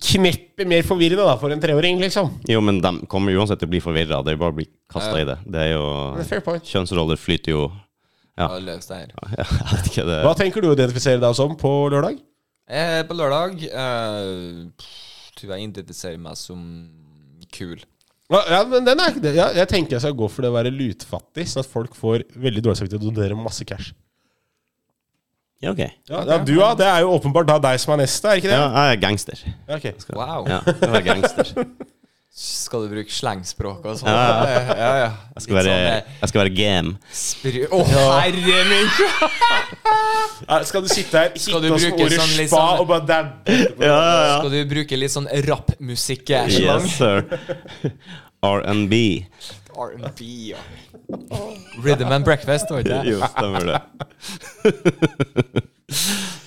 Speaker 3: kneppet mer forvirrende da, for en treåring, liksom.
Speaker 1: Jo, men de kommer jo uansett til å bli forvirra. Det er jo bare å bli kasta i det. Det er jo
Speaker 3: Fair point.
Speaker 1: Kjønnsroller flyter jo Ja.
Speaker 2: Ja, løs det her.
Speaker 1: Jeg vet ikke det
Speaker 3: Hva tenker du å identifisere deg som på lørdag?
Speaker 2: Eh, på lørdag eh, pff, tror jeg identifiserer meg som kul.
Speaker 3: Ja, ja, men den er ikke det. Ja, jeg tenker jeg skal gå for det å være lutfattig, sånn at folk får veldig dårlig samvittighet og donerer masse cash.
Speaker 1: Ja, ok.
Speaker 3: Ja, ja, du, ja. Det er jo åpenbart da deg som er neste, er ikke det?
Speaker 2: Oh.
Speaker 1: Ja, jeg er gangster.
Speaker 3: Ja, ok.
Speaker 2: Wow.
Speaker 1: Ja, jeg er gangster.
Speaker 2: Skal du bruke slengspråk og sånn?
Speaker 1: Ja,
Speaker 2: ja, ja. eh,
Speaker 1: Jeg skal være,
Speaker 2: sånn,
Speaker 1: jeg skal være game.
Speaker 2: Sprø... Å, herre min!
Speaker 3: Ja, Skal du sitte her,
Speaker 2: Skal
Speaker 3: hitte
Speaker 2: du
Speaker 3: oss med
Speaker 2: bruke
Speaker 3: ordet
Speaker 2: sånn litt
Speaker 3: spa
Speaker 2: sånn-
Speaker 3: og bare dabbe?
Speaker 1: Ja, ja,
Speaker 2: Skal du bruke litt sånn rappmusikk?
Speaker 1: ja.
Speaker 2: Yes.
Speaker 1: Yes, sir. R&B.
Speaker 2: R&B, ja. Rhythm and breakfast, var ikke det?
Speaker 1: Jo, stemmer det.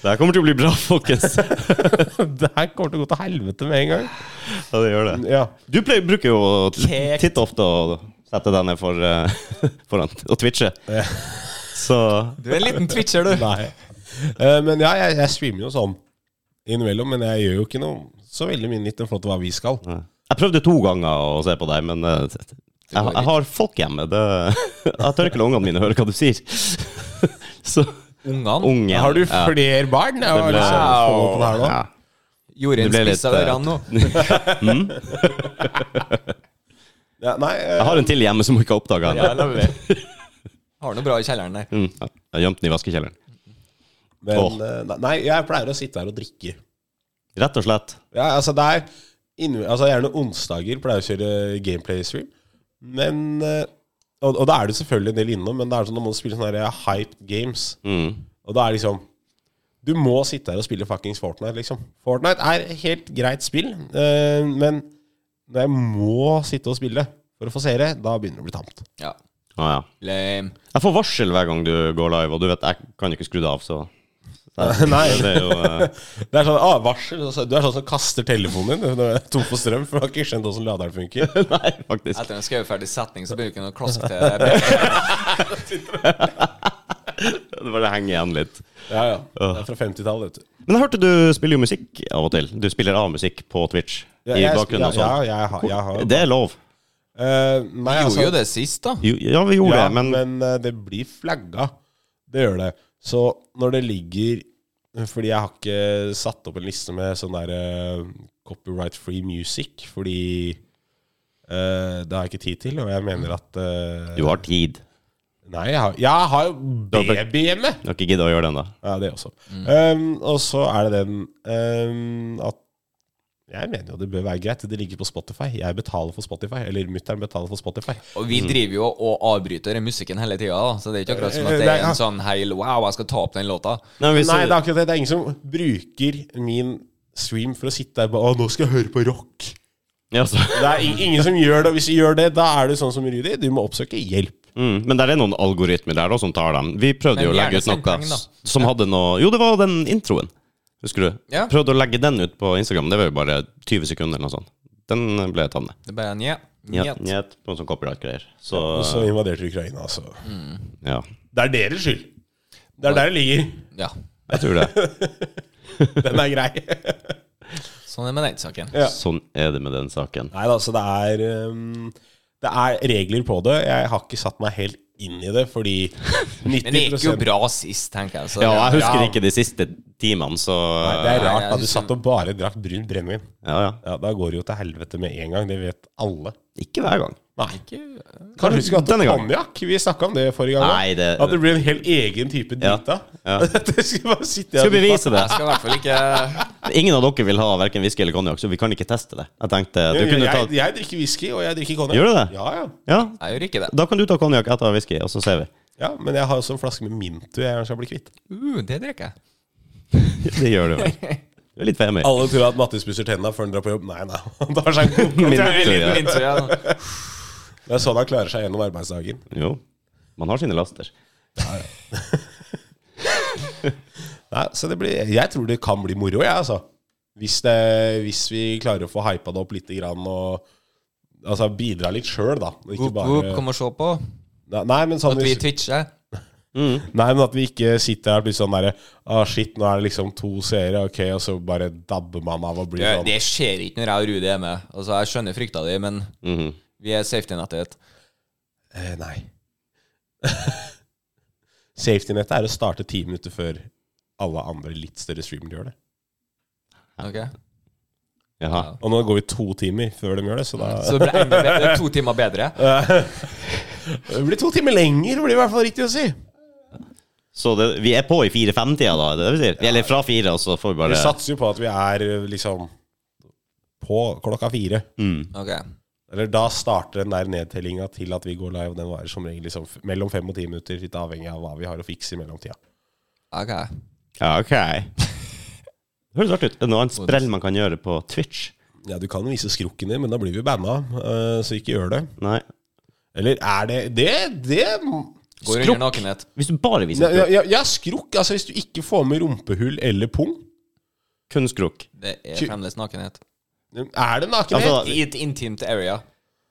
Speaker 1: Det her kommer til å bli bra, folkens. Ja,
Speaker 3: Det her kommer til å gå til helvete med en gang.
Speaker 1: det gjør det.
Speaker 3: Ja.
Speaker 1: Du pleier, bruker jo å t-
Speaker 2: Kekt.
Speaker 1: titt ofte å sette deg ned for, eh, foran og twitche.
Speaker 3: Ja.
Speaker 1: Så
Speaker 2: Du er en liten twitcher, du.
Speaker 3: Nei. Eh, men ja, jeg, jeg streamer jo sånn innimellom, men jeg gjør jo ikke noe så veldig mye nytt i forhold til hva vi skal.
Speaker 1: Jeg prøvde to ganger å se på deg, men eh, jeg, jeg har folk hjemme. Det, jeg tør ikke la ungene mine høre hva du sier. Så
Speaker 2: Ungene
Speaker 1: ungen
Speaker 3: Har du
Speaker 1: ja,
Speaker 3: flere barn?
Speaker 1: det
Speaker 3: Jeg var
Speaker 1: ble-
Speaker 3: liksom på den her nå.
Speaker 1: ja.
Speaker 2: gjorde en
Speaker 1: Det ble litt,
Speaker 2: spiss av
Speaker 1: eh,
Speaker 2: ørene nå.
Speaker 3: Ja, nei, eh,
Speaker 1: Jeg har en til hjemme som ikke har oppdaga
Speaker 2: Ja,
Speaker 1: den.
Speaker 2: det ble det. Har noe bra i kjelleren der.
Speaker 1: Mm, ja. Jeg har gjemt den i vaskekjelleren.
Speaker 3: men,
Speaker 1: Åh.
Speaker 3: eh, nei, jeg pleier å sitte her og drikke.
Speaker 1: Rett og slett.
Speaker 3: Ja, altså det er innv- altså Gjerne onsdager pleier jeg å kjøre gameplay-stream. Men eh, og, og da er det selvfølgelig en del innom, men det er sånn når man spiller sånne her hyped games
Speaker 1: Mm.
Speaker 3: Og da er liksom Du må sitte her og spille fuckings Fortnite, liksom. Fortnite er helt greit spill, eh, men når jeg må sitte og spille for å få seere, da begynner det å bli tamt.
Speaker 2: Ja. ehm,
Speaker 1: Ah, ja.
Speaker 2: Lame.
Speaker 1: Jeg får varsel hver gang du går live, og du vet jeg kan ikke skru det av, så
Speaker 3: Nei.
Speaker 1: Det er jo eh,
Speaker 3: Det er sånn ah, varsel. altså, Du er sånn som kaster telefonen din når du er tom for strøm, for du har ikke skjønt hvordan laderen funker.
Speaker 1: Nei, eh, faktisk.
Speaker 2: Etter en skrevet setning så bruker han å klaske til
Speaker 1: Det bare henger igjen litt.
Speaker 3: Ja, ja. Det er fra 50-tallet, vet du.
Speaker 1: Men jeg hørte du spiller jo musikk av og til. Du spiller av musikk på Twitch.
Speaker 3: Ja,
Speaker 1: I
Speaker 3: jeg-
Speaker 1: bakgrunnen og
Speaker 3: ja,
Speaker 1: sånn.
Speaker 3: ja, jeg har- jeg har-
Speaker 1: Det er lov.
Speaker 3: Eh, nei,
Speaker 2: Han
Speaker 3: altså,
Speaker 2: gjorde jo det sist, da.
Speaker 1: Jo, ja, vi gjorde
Speaker 3: ja,
Speaker 1: det,
Speaker 3: men,
Speaker 1: men
Speaker 3: eh, det blir flagga. Det gjør det. Så når det ligger eh, Fordi jeg har ikke satt opp en liste med sånn der eh, copyright free music, fordi eh, det har jeg ikke tid til, og jeg mener at eh,
Speaker 1: du har tid.
Speaker 3: Nei, jeg har, jeg har jo
Speaker 1: har vel-
Speaker 3: baby hjemme!
Speaker 1: Du har ikke giddet å gjøre det ennå.
Speaker 3: Ja, det også.
Speaker 2: Mm.
Speaker 3: Um, og så er det den um, at jeg mener jo det bør være greit. Det ligger på Spotify. Jeg betaler for Spotify. Eller mutter'n betaler for Spotify.
Speaker 2: Og vi driver jo og avbryter den musikken hele tida, da. Så det er ikke akkurat som at det er en sånn heil Wow, jeg skal ta opp den låta.
Speaker 1: Nei, hvis,
Speaker 3: Nei, det er akkurat det. Det er ingen som bruker min stream for å sitte der og bare, Å, nå skal jeg høre på rock.
Speaker 1: ja, så,
Speaker 3: Det er ing- ingen som gjør det. Og hvis du gjør det, da er du sånn som Rudi. Du må oppsøke hjelp.
Speaker 1: mm, men der er noen algoritmer der da, som tar dem. Vi prøvde
Speaker 2: Men
Speaker 1: jo å
Speaker 2: gjerne
Speaker 1: legge ut
Speaker 2: send
Speaker 1: noe
Speaker 2: penger, da.
Speaker 1: s- som hadde noe Jo, det var den introen. Husker du?
Speaker 2: Ja.
Speaker 1: Prøvde å legge den ut på Instagram. Det var jo bare 20 sekunder eller noe sånt. Den eh, ble tatt ned.
Speaker 2: Det er bare nje.
Speaker 1: Njet.
Speaker 2: Njet.
Speaker 1: Njet på en sånn copyright-greier. Så
Speaker 3: Og så invaderte Ukraina, altså.
Speaker 1: ja,
Speaker 3: Det er deres skyld. Det er der det ligger.
Speaker 2: Ja.
Speaker 1: jeg tror det.
Speaker 3: Den er grei.
Speaker 2: Sånn er det med den saken.
Speaker 3: Ja.
Speaker 1: Sånn er det med den saken.
Speaker 3: Nei da, så det er um, Det er regler på det. Jeg har ikke satt meg helt inn i det, fordi 90
Speaker 2: Men det gikk jo bra sist, tenker jeg. Så
Speaker 1: Ja, jeg
Speaker 2: det-
Speaker 1: husker
Speaker 3: Ja.
Speaker 1: ikke de siste timene, så
Speaker 3: Nei, Det er rart
Speaker 2: Nei, jeg
Speaker 3: at du
Speaker 2: synes-
Speaker 3: satt og bare drakk brun brennevin.
Speaker 1: Ja, ja.
Speaker 3: Ja, da går det jo til helvete med en gang. Det vet alle.
Speaker 1: Ikke hver gang.
Speaker 3: Nei.
Speaker 2: Ikke-
Speaker 3: Kan du huske at
Speaker 1: Denne gangen.
Speaker 3: konjakk? Vi snakka om det forrige gang. da.
Speaker 1: Nei, det-
Speaker 3: At det ble en helt egen type
Speaker 1: Ja,
Speaker 3: drita.
Speaker 1: ja.
Speaker 3: det skulle bare sitte
Speaker 1: Skal vi bevise det?
Speaker 2: Jeg skal i hvert fall ikke
Speaker 1: Ingen av dere vil ha verken whisky eller konjakk, så vi kan ikke teste det. Jeg tenkte du
Speaker 3: Jeg,
Speaker 1: kunne
Speaker 3: jeg,
Speaker 1: ta
Speaker 3: jeg drikker whisky, og jeg drikker konjakk.
Speaker 1: Gjør du det?
Speaker 3: Ja, ja.
Speaker 1: Ja,
Speaker 2: Jeg gjør ikke det.
Speaker 1: da kan du ta konjakk etter whisky, og så ser vi.
Speaker 3: ja, men jeg har også en flaske med Mintu jeg skal bli kvitt.
Speaker 2: Uh, det drikker jeg.
Speaker 1: Det gjør du vel. Du er litt femi.
Speaker 3: Alle tror at Mattis pusser tenna før han drar på jobb. Nei, nei. Han tar seg en god
Speaker 1: Mintu,
Speaker 3: konjakk.
Speaker 1: ja.
Speaker 2: Min tur, ja.
Speaker 3: Det er sånn han klarer seg gjennom arbeidsdagen.
Speaker 1: Jo. Man har sine laster.
Speaker 3: Nei, så det blir, jeg tror det kan bli moro, jeg, altså. Hvis, det, hvis vi klarer å få hypa det opp litt grann, og altså, bidra litt sjøl, da. og Ikke
Speaker 2: Whoop, whoop,
Speaker 3: bare,
Speaker 2: kom og se på.
Speaker 3: nei, nei, men sånn,
Speaker 2: At vi
Speaker 3: hvis,
Speaker 2: twitcher.
Speaker 3: nei, men at vi ikke sitter her og blir sånn derre ah, Shit, nå er det liksom to seere, ok, og så bare dabber man av og blir
Speaker 2: Det,
Speaker 3: sånn.
Speaker 2: det skjer ikke når jeg og Rudi er med. Altså, jeg skjønner frykta di, men
Speaker 1: Mhm.
Speaker 2: vi er safety-nettet.
Speaker 3: Eh, nei. Safety-nettet er å starte ti minutter før alle andre litt større streamere gjør det.
Speaker 2: Ok?
Speaker 1: Jaha.
Speaker 3: Og nå går vi to timer før de gjør det, så da
Speaker 2: Så det ble enda bedre. Det er to timer bedre.
Speaker 3: Det blir to timer lenger, blir det i hvert fall riktig å si.
Speaker 1: Så det, vi er på i fire-fem-tida, da? er Det det vi sier? Eller fra fire, og så får vi
Speaker 3: Vi
Speaker 1: bare
Speaker 3: satser jo på at vi er liksom på klokka fire.
Speaker 1: mm.
Speaker 2: Ok
Speaker 3: Eller da starter den der nedtellinga til at vi går live. Den varer som regel liksom f- mellom fem og ti minutter, litt avhengig av hva vi har å fikse i mellomtida.
Speaker 2: Ok.
Speaker 1: Ja, ok. Det høres artig ut. Er det noe annet sprell man kan gjøre på Twitch?
Speaker 3: Ja, du kan vise skrukken din, men da blir vi banna, eh, så ikke gjør det.
Speaker 1: Nei.
Speaker 3: Eller er det Det, det
Speaker 2: Går under nakenhet.
Speaker 1: Hvis du bare viser
Speaker 3: Ja,
Speaker 1: skrukk,
Speaker 3: ja, ja, skrukk. Altså, hvis du ikke får med rumpehull eller pung,
Speaker 1: kun skrukk
Speaker 2: Det er
Speaker 3: Tju-
Speaker 2: fremdeles nakenhet.
Speaker 3: er det nakenhet.
Speaker 1: Altså,
Speaker 2: I et intimt area.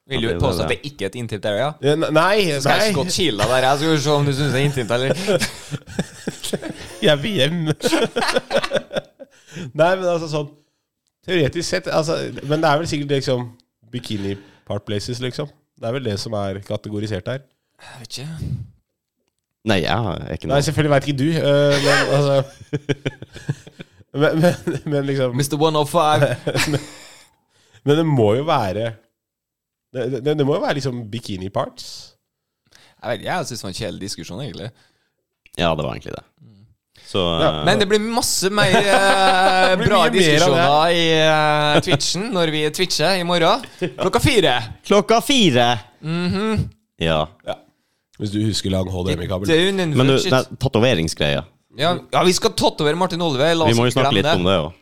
Speaker 2: Vil
Speaker 1: Ja,
Speaker 2: du
Speaker 1: det er
Speaker 2: påstå at
Speaker 1: det.
Speaker 2: det ikke er et intimt area?
Speaker 3: Ja, ne- Nei,
Speaker 2: Skal jeg
Speaker 3: nei.
Speaker 2: skått kila der? Jeg skal jo se om du syns det er intimt, eller?
Speaker 3: Jeg vil hjem. nei, men altså sånn Teoretisk sett altså, Men det er vel sikkert liksom bikini part places, liksom. Det er vel det som er kategorisert her.
Speaker 2: Jeg vet ikke.
Speaker 1: Nei, jeg har ikke
Speaker 3: Nei,
Speaker 1: noe.
Speaker 3: selvfølgelig veit ikke du, øh, men altså men, men, men liksom
Speaker 2: Mr. 105.
Speaker 3: Men det må jo være Det, det, det må jo være liksom bikini parts.
Speaker 2: Jeg vet ikke, jeg syns det var en kjedelig diskusjon, egentlig.
Speaker 1: Ja, det var egentlig det. Så eh,
Speaker 3: Ja,
Speaker 2: Men det blir masse mer eh,
Speaker 3: Det blir
Speaker 2: bra
Speaker 3: mye mer av det.
Speaker 2: diskusjoner i eh, Twitchen når vi twitcher i morgen. Klokka fire.
Speaker 1: Klokka fire! Ja.
Speaker 3: Hvis du husker lang HDMI-kabel.
Speaker 2: Døgn
Speaker 1: Men du,
Speaker 2: shit.
Speaker 1: den tatoveringsgreia.
Speaker 2: ja, ja, vi skal tatovere Martin Olve. La
Speaker 1: Vi
Speaker 2: oss
Speaker 1: må jo
Speaker 2: ikke
Speaker 1: snakke
Speaker 2: glemme
Speaker 1: litt om det òg.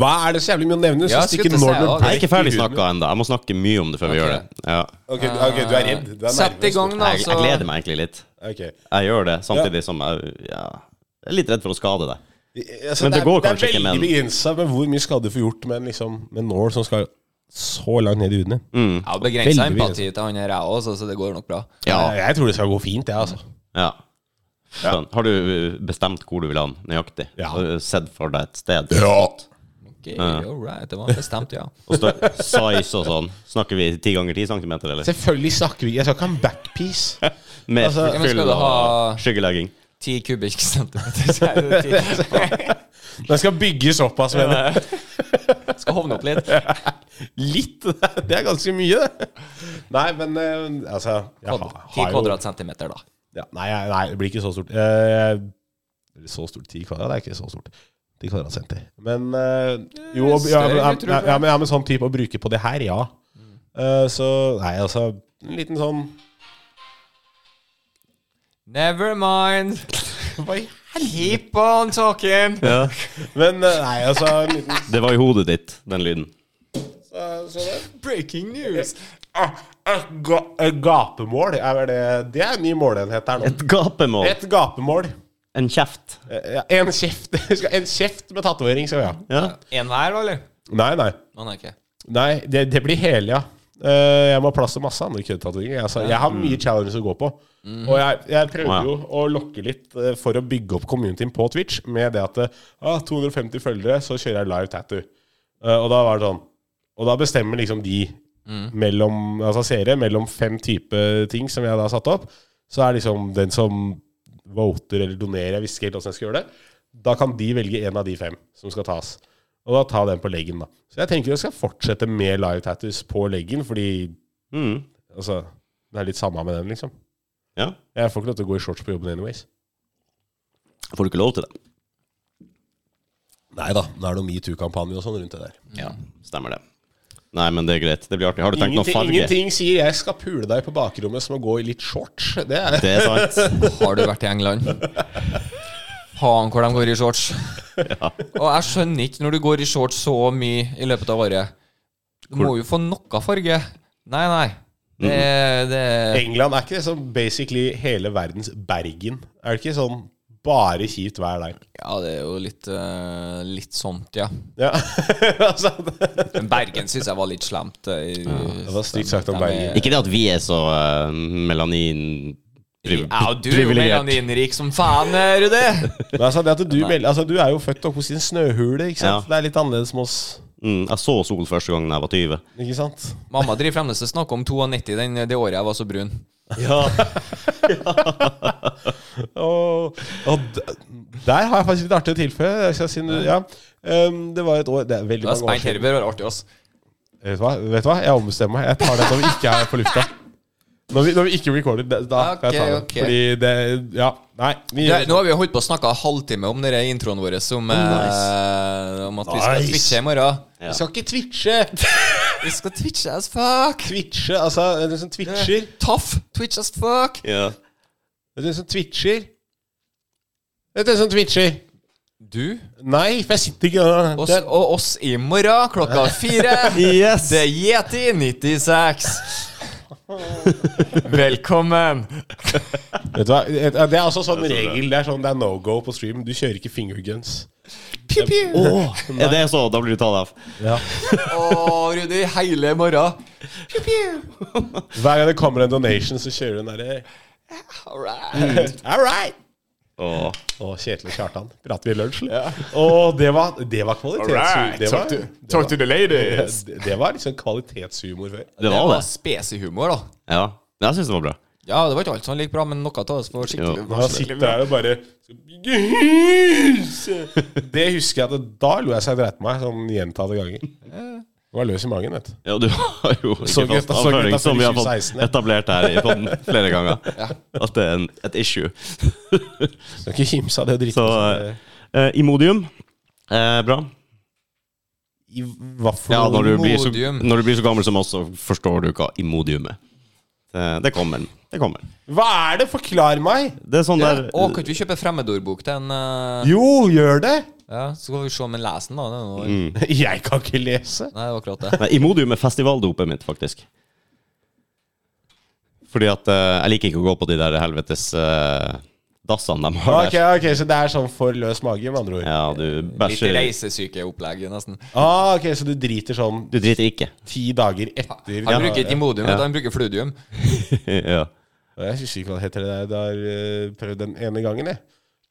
Speaker 3: Hva er det så jævlig mye å nevne?
Speaker 2: Ja,
Speaker 3: Synes
Speaker 2: jeg
Speaker 3: ikke
Speaker 2: skulle til å
Speaker 3: når
Speaker 2: si,
Speaker 3: det
Speaker 2: ja,
Speaker 1: Jeg er ikke ferdig
Speaker 3: ble-
Speaker 1: snakka ennå. Jeg må snakke mye om det før vi gjør det. Ja.
Speaker 3: Ok, ok, du er redd. Du er
Speaker 2: Sett i
Speaker 3: nervøs.
Speaker 2: gang, da.
Speaker 1: Jeg, jeg gleder meg egentlig litt.
Speaker 3: Ok.
Speaker 1: Jeg gjør det samtidig som jeg ja, jeg er litt redd for å skade deg.
Speaker 3: Altså,
Speaker 1: Men det
Speaker 3: er-
Speaker 1: går kanskje ikke
Speaker 3: Det
Speaker 1: med
Speaker 3: er
Speaker 1: den.
Speaker 3: veldig begrensa med hvor mye skade du får gjort med, en liksom, med en nål som skal så langt ned i huden din.
Speaker 2: Ja, Begrensa
Speaker 3: Veldig
Speaker 2: empati til han her, jeg òg, så det går nok bra.
Speaker 1: Ja.
Speaker 3: Jeg tror det skal gå fint, jeg, altså.
Speaker 1: Ja. Sånn. Har du uh, bestemt hvor du vil ha den, nøyaktig?
Speaker 3: Ja.
Speaker 1: Har du sett for deg et sted?
Speaker 2: Ok, all right, det var bestemt, ja.
Speaker 1: Og stø- size og sånn. Snakker vi 10 ganger 10 cm, eller?
Speaker 3: Selvfølgelig snakker vi Jeg skal ikke ha en backpiece.
Speaker 1: Med
Speaker 3: Altså-
Speaker 2: Ja, men
Speaker 1: fyll
Speaker 2: skal du
Speaker 1: og
Speaker 2: ha-
Speaker 1: skyggelegging.
Speaker 2: Ti kubikkcentimeter. så er det ti.
Speaker 3: Den skal bygges opp, altså. mener jeg.
Speaker 2: Skal hovne opp litt.
Speaker 3: Litt. Det er ganske mye, det. Nei, men eh, altså jeg har-
Speaker 2: Ti
Speaker 3: har jo-
Speaker 2: kvadratcentimeter, da.
Speaker 3: Ja, nei, jeg- nei, det blir ikke så stort. Eh, eller så stort 10 kvadrat det er ikke så stort. 10 kvadratcenter. Men eh, jo,
Speaker 2: Større,
Speaker 3: ja, men, ja,
Speaker 2: tror
Speaker 3: ja,
Speaker 2: jeg.
Speaker 3: ja, men, ja, men sånn type å bruke på det her, ja. Eh, så nei, altså En liten sånn
Speaker 2: Never mind. Keep on talking.
Speaker 1: Ja.
Speaker 3: Men eh, nei, altså en liten,
Speaker 1: Det var i hodet ditt, den lyden.
Speaker 3: så, så det.
Speaker 2: Breaking news.
Speaker 3: Ah, ah, sånn- ga, eh, gapemål, er vel det Det er en ny måleenhet her nå.
Speaker 1: Et gapemål.
Speaker 3: Et gapemål.
Speaker 1: En kjeft.
Speaker 3: Eh, ja, en kjeft En kjeft med tatovering, skal vi ha.
Speaker 1: Ja.
Speaker 2: En hver, da, eller?
Speaker 3: Nei, nei.
Speaker 2: Å, nei, ikke.
Speaker 3: Nei, det, det blir hele, ja. Eh, jeg må ha plass til masse andre køddetatoveringer. Altså, jeg har mye challenges å gå på. Og jeg, jeg prøvde
Speaker 1: Wow.
Speaker 3: jo å lokke litt eh, for å bygge opp communityen på Twitch med det at eh, ah, 250 følgere, så kjører jeg live tattoo. Eh, og da var det sånn Og da bestemmer liksom de mellom altså seere mellom fem typer ting som jeg da har satt opp. Så er liksom den som voter eller donerer, jeg visste ikke helt hvordan jeg skal gjøre det, da kan de velge en av de fem som skal tas. Og da ta den på leggen, da. Så jeg tenker jeg skal fortsette med live tattoos på leggen, fordi
Speaker 1: Mm.
Speaker 3: altså Det er litt samme med den, liksom.
Speaker 1: ja.
Speaker 3: Jeg får ikke lov til å gå i shorts på jobben anyways.
Speaker 1: Får du ikke lov til det?
Speaker 3: Nei da, det er noe metoo-kampanje og sånn rundt det der.
Speaker 1: Ja, stemmer det. Nei, men det er greit. Det blir artig. Har du tenkt noe
Speaker 3: Ingenting,
Speaker 1: farge?
Speaker 3: ingenting sier 'jeg skal pule deg på bakrommet' som å gå i litt shorts. Det er
Speaker 1: Det er sant.
Speaker 2: Har du vært i England? Faen hvor de går i shorts. Og jeg skjønner ikke når du går i shorts så mye i løpet av året. Du må jo få noe farge. Nei, nei.
Speaker 3: Mm.
Speaker 2: Det, det
Speaker 3: England er ikke det som basically hele verdens Bergen. Er det ikke sånn bare kjipt vær der?
Speaker 2: Ja, det er jo litt eh, Litt sånt, ja.
Speaker 3: Ja, altså det-
Speaker 2: Men Bergen syns jeg var litt slemt. eh, i-
Speaker 3: Det var stygt sagt om
Speaker 2: De er-
Speaker 3: Bergen.
Speaker 1: Ikke det at vi er så eh, melanin...
Speaker 2: Jeg og du er jo
Speaker 1: privilegert.
Speaker 2: melaninrik som faen, er du det?
Speaker 3: Men altså, det at du, meld- altså, du er jo født opp hos en snøhule, ikke sant?
Speaker 1: Ja.
Speaker 3: Det er litt annerledes med oss,
Speaker 1: Mm, jeg så sol første gang da jeg var 20.
Speaker 3: ikke sant?
Speaker 2: Mamma driver fremdeles og snakker om 92, den, det året jeg var så brun.
Speaker 3: Og, og d- der har jeg faktisk litt artig å tilføye. Jeg skal si, noe- ja. Um, det var et år Det er veldig
Speaker 2: Da
Speaker 3: mange år
Speaker 2: Speint
Speaker 3: siden.
Speaker 2: Herber var artig, ass.
Speaker 3: Vet du hva? Vet du hva? Jeg ombestemmer meg. Jeg tar det når vi ikke er på lufta. Når vi, når vi ikke recorder, da da kan jeg ta det.
Speaker 2: Ok, ok.
Speaker 3: Fordi det Ja. Nei. Vi,
Speaker 2: Ja, nå har vi holdt på å snakke en halvtime om denne introen vår som, eh, om at vi skal
Speaker 3: Nice.
Speaker 2: twitche i morgen.
Speaker 3: vi skal ikke twitche!
Speaker 2: Vi skal twitche as fuck.
Speaker 3: Twitche, altså en som twitcher
Speaker 2: Taff. Twitch as fuck.
Speaker 1: Ja.
Speaker 3: En som twitcher Vet du en som twitcher?
Speaker 2: Du
Speaker 3: Nei, for jeg sitter ikke der.
Speaker 2: oss, og oss i morgen klokka fire.
Speaker 1: Yes!
Speaker 2: Det er Yeti 96. Velkommen.
Speaker 3: Vet du hva? Det er det er altså sånn
Speaker 1: Jeg tror det.
Speaker 3: regel. Det er sånn det er no go på stream. Du kjører ikke fingerguns.
Speaker 2: Pew, pew. Å,
Speaker 1: Åh, er det så? Da blir du tatt av.
Speaker 3: Ja.
Speaker 2: Rudi. Hele morgen. Pew, pew.
Speaker 3: Hver gang det kommer en donation, så kjører du den derre
Speaker 2: All right.
Speaker 3: All right!
Speaker 1: Åh.
Speaker 3: Og Kjetil og Kjartan prater vi lunsj. liksom. Og det var, det var kvalitetshumor. det, var- det, var-
Speaker 2: the ladies.
Speaker 3: det- det var liksom kvalitetshumor før.
Speaker 1: Det var det.
Speaker 2: spesiell humor, da.
Speaker 1: Ja. Men jeg syns det var bra.
Speaker 2: Ja, det var ikke alt som gikk bra, men noe av oss var skikkelig
Speaker 1: Jo.
Speaker 2: var
Speaker 3: Når jeg
Speaker 2: skikkelig
Speaker 3: sitter
Speaker 2: bra.
Speaker 3: her og bare skal bygge hus Det husker jeg at da lo jeg seg dreit meg sånn gjentatte ganger. Jeg var løs i magen, vet du.
Speaker 1: Ja, du har jo
Speaker 3: Så
Speaker 1: ikke
Speaker 3: greit,
Speaker 1: fast
Speaker 3: da, så greit,
Speaker 1: avføring,
Speaker 3: da,
Speaker 1: som vi har
Speaker 3: 2016,
Speaker 1: fått
Speaker 3: ja.
Speaker 1: etablert her i podden flere ganger. At det er en, et issue.
Speaker 3: Skal ikke kimse av det dritten.
Speaker 1: Så
Speaker 3: som-
Speaker 1: eh, Imodium, eh, bra.
Speaker 3: I hva for
Speaker 1: Ja, når du, blir så,
Speaker 2: Imodium.
Speaker 1: når du blir så gammel som oss, så forstår du hva imodium er. Det, det kommer. Det kommer.
Speaker 3: Hva er det? Forklar meg!
Speaker 1: Det er sånn
Speaker 2: Ja.
Speaker 1: der
Speaker 2: Å, kan ikke vi kjøpe fremmedordbok til en eh,
Speaker 3: Jo, gjør det!
Speaker 2: Ja, Så skal vi se om en leser den, da. Det er noe-
Speaker 1: Mm.
Speaker 3: Jeg kan ikke lese.
Speaker 2: Nei, det var akkurat det.
Speaker 1: Nei, Imodium er festivaldopet mitt, faktisk. Fordi at eh, jeg liker ikke å gå på de der helvetes eh, dassene de har
Speaker 3: Ok,
Speaker 1: der.
Speaker 3: ok, Så det er sånn for løs mage, med andre ord.
Speaker 1: Ja, du
Speaker 2: Litt
Speaker 1: bæsjer
Speaker 2: reisesykeopplegg, nesten.
Speaker 3: Ah, ok, Så du driter sånn
Speaker 1: Du driter ikke.
Speaker 3: ti dager etter
Speaker 2: Han bruker ikke Imodium, vet du,
Speaker 1: Ja.
Speaker 2: han bruker Fludium.
Speaker 1: ja.
Speaker 3: Og Jeg husker ikke hva det heter det der. Det har eh, prøvd den ene gangen, jeg.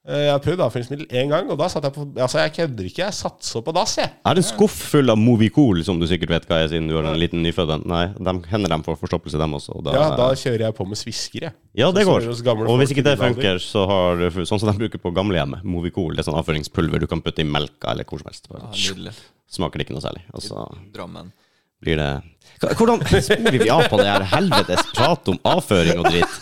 Speaker 3: Eh, Jeg har prøvd avføringsmiddel én gang, og da satt jeg på Altså, jeg kødder ikke. Jeg satser på dass, jeg.
Speaker 1: Jeg har en skuff full av Movicool, som du sikkert vet hva er, siden du har en liten nyfødt en. Nei, de hender dem for forstoppelse, dem også. og Da,
Speaker 3: Ja, da kjører jeg på med svisker, jeg.
Speaker 1: Ja, det
Speaker 3: Så
Speaker 1: går.
Speaker 3: ser vi oss gamle
Speaker 1: Og hvis
Speaker 3: folk
Speaker 1: ikke
Speaker 3: i
Speaker 1: det
Speaker 3: din alder.
Speaker 1: funker, så har du Sånn som de bruker på gamlehjemmet, Movicool. Det er sånn avføringspulver du kan putte i melka eller hvor som helst. Bare,
Speaker 3: Ah,
Speaker 2: Ja, Nydelig.
Speaker 1: smaker det ikke noe særlig. Og så
Speaker 2: Drammen.
Speaker 1: blir det Hva- Hvordan sporer vi av på det her helvetes prat om avføring og dritt?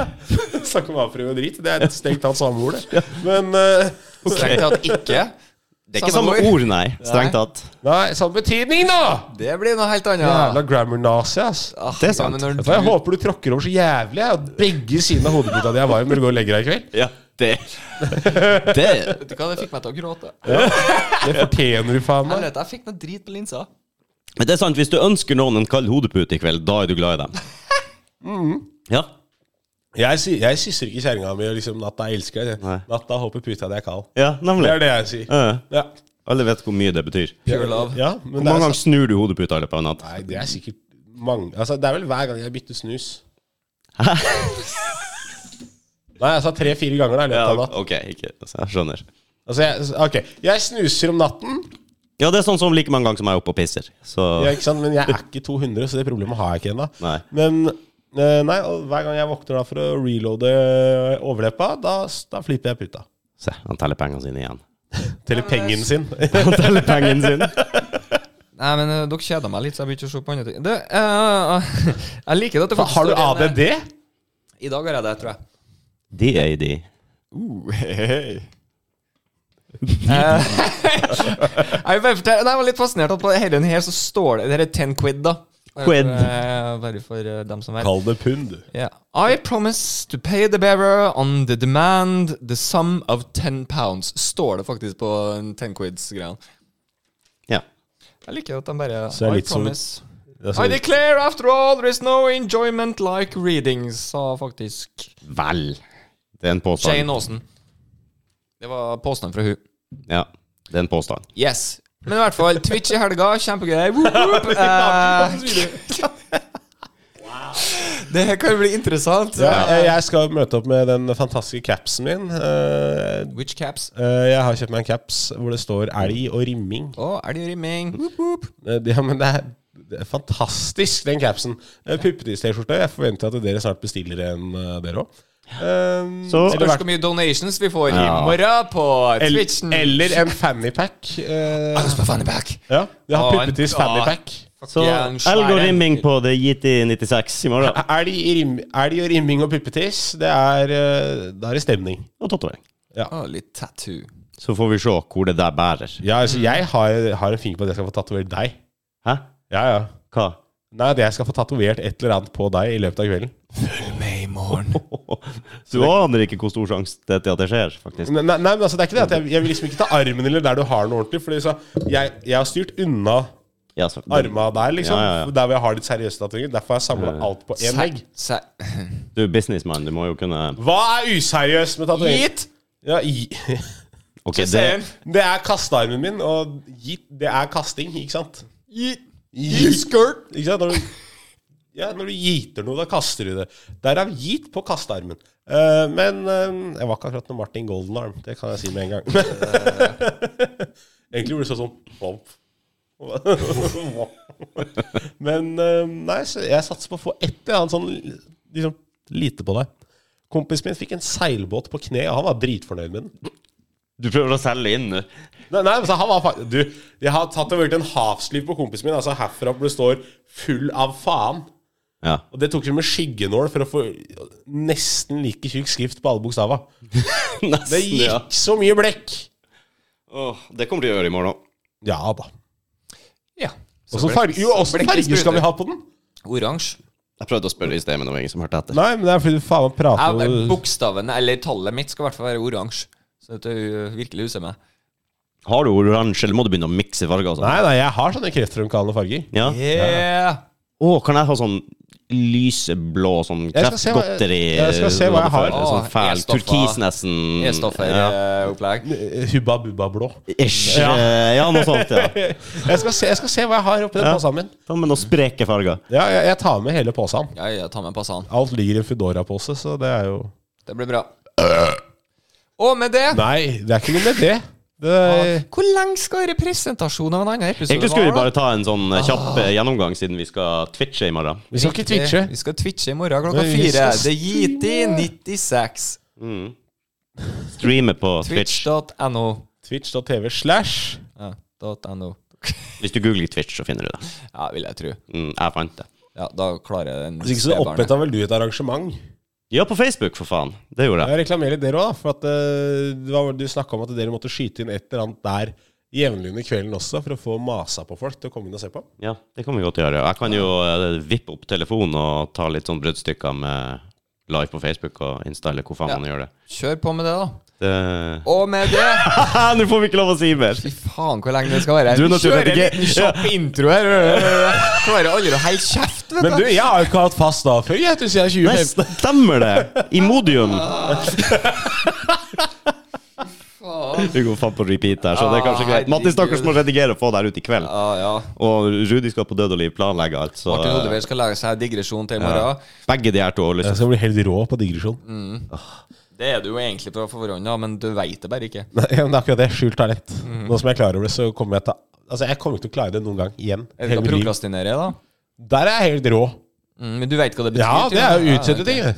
Speaker 3: Snakk om avføring og drit. Det er et strengt tatt samme ord, det. Men eh,
Speaker 2: Strengt tatt ikke.
Speaker 1: Det er ikke samme ord, nei. Strengt tatt.
Speaker 3: Nei, samme betydning, da!
Speaker 2: Det blir noe helt
Speaker 3: Jævla
Speaker 2: annet.
Speaker 3: grammar-nazi, ass.
Speaker 2: Ah,
Speaker 1: Det er
Speaker 2: ja,
Speaker 1: sant.
Speaker 2: men når
Speaker 3: Vet du hva, Jeg
Speaker 2: du-
Speaker 3: håper du tråkker over så jævlig jeg, at begge sidene av hodeputa di er varm når du går og legger deg i kveld.
Speaker 1: Ja, det Det
Speaker 2: Vet du hva, det fikk meg til å gråte.
Speaker 3: Det fortjener du faen meg.
Speaker 2: Ærlighet, jeg fikk noe drit på linsa.
Speaker 1: Men det er sant, hvis du ønsker noen en kald hodepute i kveld, da er du glad i dem.
Speaker 3: Mm.
Speaker 1: Ja.
Speaker 3: Jeg, sy- jeg sysser ikke kjerringa mi og liksom 'natta jeg elsker deg'.
Speaker 1: Nei.
Speaker 3: 'Natta håper puta di er kald'.
Speaker 1: Ja,
Speaker 3: Det
Speaker 1: nemlig.
Speaker 3: er det jeg sier.
Speaker 1: Ja.
Speaker 3: Ja.
Speaker 1: Alle vet hvor mye det betyr.
Speaker 2: Pure love.
Speaker 3: Ja, men
Speaker 1: Hvor
Speaker 3: det
Speaker 1: mange
Speaker 3: er,
Speaker 1: ganger snur du hodeputa i løpet av en natt?
Speaker 3: nei, det er sikkert mange Altså, det er vel hver gang jeg bytter snus. Nei, jeg sa tre-fire ganger da i løpet
Speaker 1: Ja,
Speaker 3: av natten.
Speaker 1: ok, ikke altså, Jeg skjønner.
Speaker 3: Altså, jeg, ok, jeg snuser om natten,
Speaker 1: Ja, det er sånn som like mange ganger som jeg er oppe og pisser. Så
Speaker 3: ja, ikke sant? men jeg er ikke 200, så det problemet har jeg ikke ennå.
Speaker 1: Nei.
Speaker 3: Men eh, nei, og hver gang jeg våkner da for å reloade eh, overleppa, da, da flipper jeg puta.
Speaker 1: Se, han teller pengene sine igjen.
Speaker 3: Teller pengen sin.
Speaker 1: Han teller pengene sine.
Speaker 2: Nei, men eh, dere kjeda meg litt, så jeg begynte å se på andre ting. Du, eh, jeg liker at det faktisk
Speaker 3: har du
Speaker 2: står en-
Speaker 3: ADD?
Speaker 2: I dag har jeg det, tror jeg.
Speaker 1: DAD.
Speaker 2: Uh, jeg vil bare fortelle Eh, Nei, jeg var litt fascinert at på denne her så står det Det her er 10 quid, da. Bare for,
Speaker 1: Quid.
Speaker 2: eh, Bare for eh, dem som vet.
Speaker 3: Kall det pund, du.
Speaker 2: Yeah. I promise to pay the bearer on the demand the sum of 10 pounds. Står det faktisk på 10 quids-greia.
Speaker 1: Ja.
Speaker 2: Jeg liker at de bare
Speaker 3: Så det er
Speaker 2: I
Speaker 3: litt sånn som-
Speaker 2: promise.
Speaker 3: Det
Speaker 2: I
Speaker 3: er sånn-
Speaker 2: declare after all there is no enjoyment like reading, sa faktisk
Speaker 1: Vel. Det er en
Speaker 2: Jane
Speaker 1: påstand.
Speaker 2: Austen. Det var påstanden fra hun.
Speaker 1: Ja, det er en påstand.
Speaker 2: Yes. Men i hvert fall, Twitch i helga, kjempegreier. Woop, woop. Eh, Det her kan jo bli interessant.
Speaker 3: Ja, jeg- jeg skal møte opp med den fantastiske capsen min. Eh,
Speaker 2: Which caps?
Speaker 3: eh, Jeg har kjøpt meg en caps hvor det står 'elg og rimming'.
Speaker 2: Å, er det rimming? Woop, woop.
Speaker 3: Eh, det- Ja, men det er, det er fantastisk, den capsen. Eh, Puppetiss-T-skjorte. Jeg forventer at dere snart bestiller en, eh, dere òg.
Speaker 1: Så-
Speaker 3: eller,
Speaker 2: Spørs hvor
Speaker 3: hvert-
Speaker 2: mye donations vi får i
Speaker 1: Ja.
Speaker 2: morgen på Twitchen.
Speaker 3: el- eller en fannypack.
Speaker 2: Jeg
Speaker 3: Eh,
Speaker 2: har lyst på fannypack.
Speaker 3: ja, vi har
Speaker 2: Å, en-
Speaker 3: puppetiss fannypack.
Speaker 2: Fuck
Speaker 1: Så
Speaker 2: yeah, en svær
Speaker 1: elg og
Speaker 2: en.
Speaker 1: rimming på The JT96 i morgen.
Speaker 3: Elg, i rim, elg og rimming og puppetiss, det er, eh, da er det stemning.
Speaker 1: Og tatovering.
Speaker 2: Å, litt tattoo.
Speaker 1: Så får vi se hvor det der bærer.
Speaker 3: Ja, altså, jeg har, har en finger på at jeg skal få tatovert deg.
Speaker 1: Hæ?
Speaker 3: Ja, ja.
Speaker 1: Hva?
Speaker 3: Nei, at jeg skal få tatovert et eller annet på deg i løpet av kvelden.
Speaker 2: Med i morgen.
Speaker 1: Du aner ikke hvor stor sjanse det er til at det skjer, faktisk.
Speaker 3: Nei, nei, nei, men altså, det er ikke det at jeg, jeg vil liksom ikke ta armen eller der du har den ordentlig. Fordi så, jeg, jeg har styrt unna
Speaker 1: Ja, så,
Speaker 3: arma der, liksom.
Speaker 1: Ja, ja, ja.
Speaker 3: Der hvor jeg har litt seriøse tatoveringer. Derfor har jeg samla alt på én vegg.
Speaker 2: Se,
Speaker 1: Du er businessman, du må jo kunne
Speaker 3: Hva er useriøst med tatovering?
Speaker 2: Gitt!
Speaker 3: Ja, i-
Speaker 1: Ok, det,
Speaker 2: Same.
Speaker 3: det er kastearmen min, og gitt, det er kasting, ikke sant?
Speaker 2: Gitt.
Speaker 3: Gi-
Speaker 2: Skirt.
Speaker 3: Ikke sant? Når du, ja, når du giter noe, da kaster du det. Derav git på kastearmen. Eh, men eh, jeg var ikke akkurat noe Martin Goldenarm, det kan jeg si med en gang. Egentlig burde det stå sånn Vomp. Men eh, nei, så jeg satser på å få ett. Jeg hadde sånn liksom, lite på deg. Kompisen min fikk en seilbåt på kne, og han var dritfornøyd med den.
Speaker 1: du prøver å selge inn nå.
Speaker 3: Nei, nei, altså, han var faktisk Du, jeg har tatt og vært en havsliv på kompisen min. Altså herfra hvor det står 'full av faen'.
Speaker 1: Ja.
Speaker 3: Og det tok de med skyggenål for å få nesten like tjukk skrift på alle bokstava.
Speaker 1: Nesten,
Speaker 3: Det gikk så mye blekk!
Speaker 1: Åh, det kommer de å gjøre i morgen òg.
Speaker 3: Ja da.
Speaker 2: Ja. Så
Speaker 3: Åssen
Speaker 2: ble-
Speaker 3: farge, jo, åssen
Speaker 2: ble det
Speaker 3: farge skal
Speaker 2: sprutet.
Speaker 3: vi ha på den?
Speaker 2: Oransje.
Speaker 1: Jeg prøvde å spørre i sted, men det var ingen som hørte etter.
Speaker 3: Nei, men det er fordi du faen meg prater
Speaker 2: Jeg,
Speaker 3: om
Speaker 2: bokstaven, eller tallet mitt, skal i hvert fall være oransje. Så at du virkelig huser meg.
Speaker 1: Har du oransje, eller må du begynne å mikse farger? og sånn?
Speaker 3: Nei, nei, jeg har sånne kreftfremkallende farger.
Speaker 1: Ja.
Speaker 2: Yeah.
Speaker 1: Å, kan jeg ha sånn lyseblå sånn
Speaker 3: Jeg skal se hva-
Speaker 1: kreftgodteri?
Speaker 3: jeg skal se hva jeg har.
Speaker 1: Sånn fæl
Speaker 2: Å, E-stoffer.
Speaker 1: turkis, nesten.
Speaker 3: Mm,
Speaker 1: Ja.
Speaker 2: E-stoffer-opplegg.
Speaker 3: Eh, Hubba bubba blå.
Speaker 1: Ish. eh, Ja, noe sånt, ja.
Speaker 3: Jeg skal se, jeg skal se hva jeg har oppi den posen min.
Speaker 1: Ta med noen spreke farger.
Speaker 3: Ja, jeg, jeg tar med hele posen.
Speaker 2: Ja, ja, ta med passan.
Speaker 3: Alt ligger i en Foodora-pose, så det er jo
Speaker 2: Det blir bra. Og med det
Speaker 3: Nei, det er ikke noe med det. det
Speaker 2: Hvor lenge skal representasjon av en annen episode
Speaker 1: Egentlig skulle vi
Speaker 2: vare,
Speaker 1: bare ta en sånn eh,
Speaker 3: Ah.
Speaker 1: kjapp eh, gjennomgang, siden vi skal twitche i morgen.
Speaker 3: vi skal ikke
Speaker 2: da?
Speaker 3: twitche.
Speaker 2: Vi skal twitche i morgen klokka
Speaker 3: Nei, vi
Speaker 2: fire.
Speaker 3: skal
Speaker 2: Det er gitt i 96.
Speaker 1: Streame på Twitch.
Speaker 2: Twitch.no.
Speaker 3: Twitch.tv slash
Speaker 2: Ja, dot .no.
Speaker 1: Hvis du googler Twitch, så finner du det.
Speaker 2: Ja, vil jeg tro.
Speaker 1: Mm, jeg fant det.
Speaker 2: Ja, da klarer jeg den
Speaker 3: Hvis Altså, ikke så
Speaker 2: spedbarnet.
Speaker 3: oppheta vel du et arrangement?
Speaker 1: Ja, på Facebook, for faen. Det gjorde jeg.
Speaker 3: Jeg reklamerer litt dere òg, for at eh, det var, vel- du snakka om at dere måtte skyte inn et eller annet der jevnlig under kvelden også, for å få masa på folk til å komme inn og se på.
Speaker 1: Ja, Det kan vi godt gjøre. Jeg kan jo eh, vippe opp telefonen og ta litt sånn bruddstykker med live på Facebook og Insta, eller hvor faen man gjør det.
Speaker 2: Kjør på med det, da.
Speaker 1: det...
Speaker 2: Og med det
Speaker 1: Nå får vi ikke lov å si mer!
Speaker 2: Fy faen, hvor lenge det skal være.
Speaker 1: Du er
Speaker 2: Vi
Speaker 1: naturlig
Speaker 2: Kjører en
Speaker 1: ikke-
Speaker 2: liten kjapp intro her. Klarer aldri å holde kjeft, vet
Speaker 3: Men du, jeg har jo ikke hatt fast avføring jeg, til siden
Speaker 1: Nei,
Speaker 3: 2015.
Speaker 1: stemmer det! Imodium. Vi går faen på repeat der, så det er kanskje greit. Mattis Stakkars må redigere og få det her ut i kveld.
Speaker 2: Ja, ja.
Speaker 1: Og Rudi skal på Død og Liv planlegge alt, så
Speaker 2: Martin Oliver skal lage seg digresjon til i morgen.
Speaker 1: Begge de her to. har lyst til-
Speaker 3: Jeg skal bli helt rå på digresjon.
Speaker 2: Det er du jo egentlig på forhånd, da, men du veit det bare ikke.
Speaker 3: Nei, men det er akkurat det. Skjult talent. Nå som jeg klarer det, så kommer jeg til Altså, jeg kommer ikke til å klare det noen gang igjen.
Speaker 2: Er det
Speaker 3: Hele
Speaker 2: å
Speaker 3: mitt liv.
Speaker 2: prokrastinere, da?
Speaker 3: Der er jeg helt rå.
Speaker 2: Mm, men du veit hva det betyr?
Speaker 3: Ja, det er jo å utsette ting. det.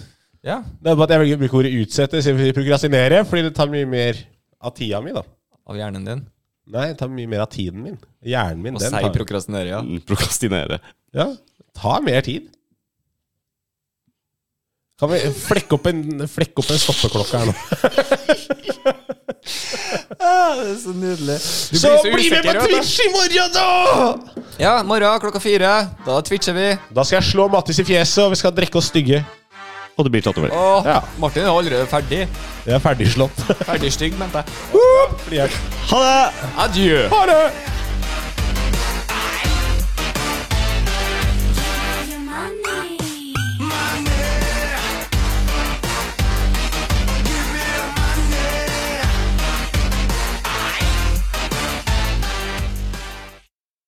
Speaker 2: Ja.
Speaker 3: Det er bare at jeg velger å bruke ordet utsette istedenfor prokrastinere, fordi det tar mye mer av tida mi, da.
Speaker 2: Av hjernen din.
Speaker 3: Nei, det tar mye mer av tiden min. Hjernen min,
Speaker 2: Og
Speaker 3: den
Speaker 2: si
Speaker 3: tar
Speaker 2: prokrastinere, ja.
Speaker 1: Mm, Prokrastinere.
Speaker 3: Ja, ta mer tid. Kan vi flekke opp en, flekke opp en stoppeklokke her nå?
Speaker 2: Ah, det er så nydelig.
Speaker 3: Så bli med på Twitch i morgen, da!
Speaker 2: Ja, morgen klokka fire. Da twitcher vi.
Speaker 3: Da skal jeg slå Mattis i fjeset, og vi skal drikke oss stygge.
Speaker 1: Og det blir tatovering.
Speaker 2: Og
Speaker 3: Ja.
Speaker 2: Martin er allerede ferdig.
Speaker 3: Jeg er ferdigslått.
Speaker 2: Ferdig stygg, mente jeg.
Speaker 3: Fordi jeg-
Speaker 1: Ha det!
Speaker 2: Adjø.
Speaker 3: Ha det!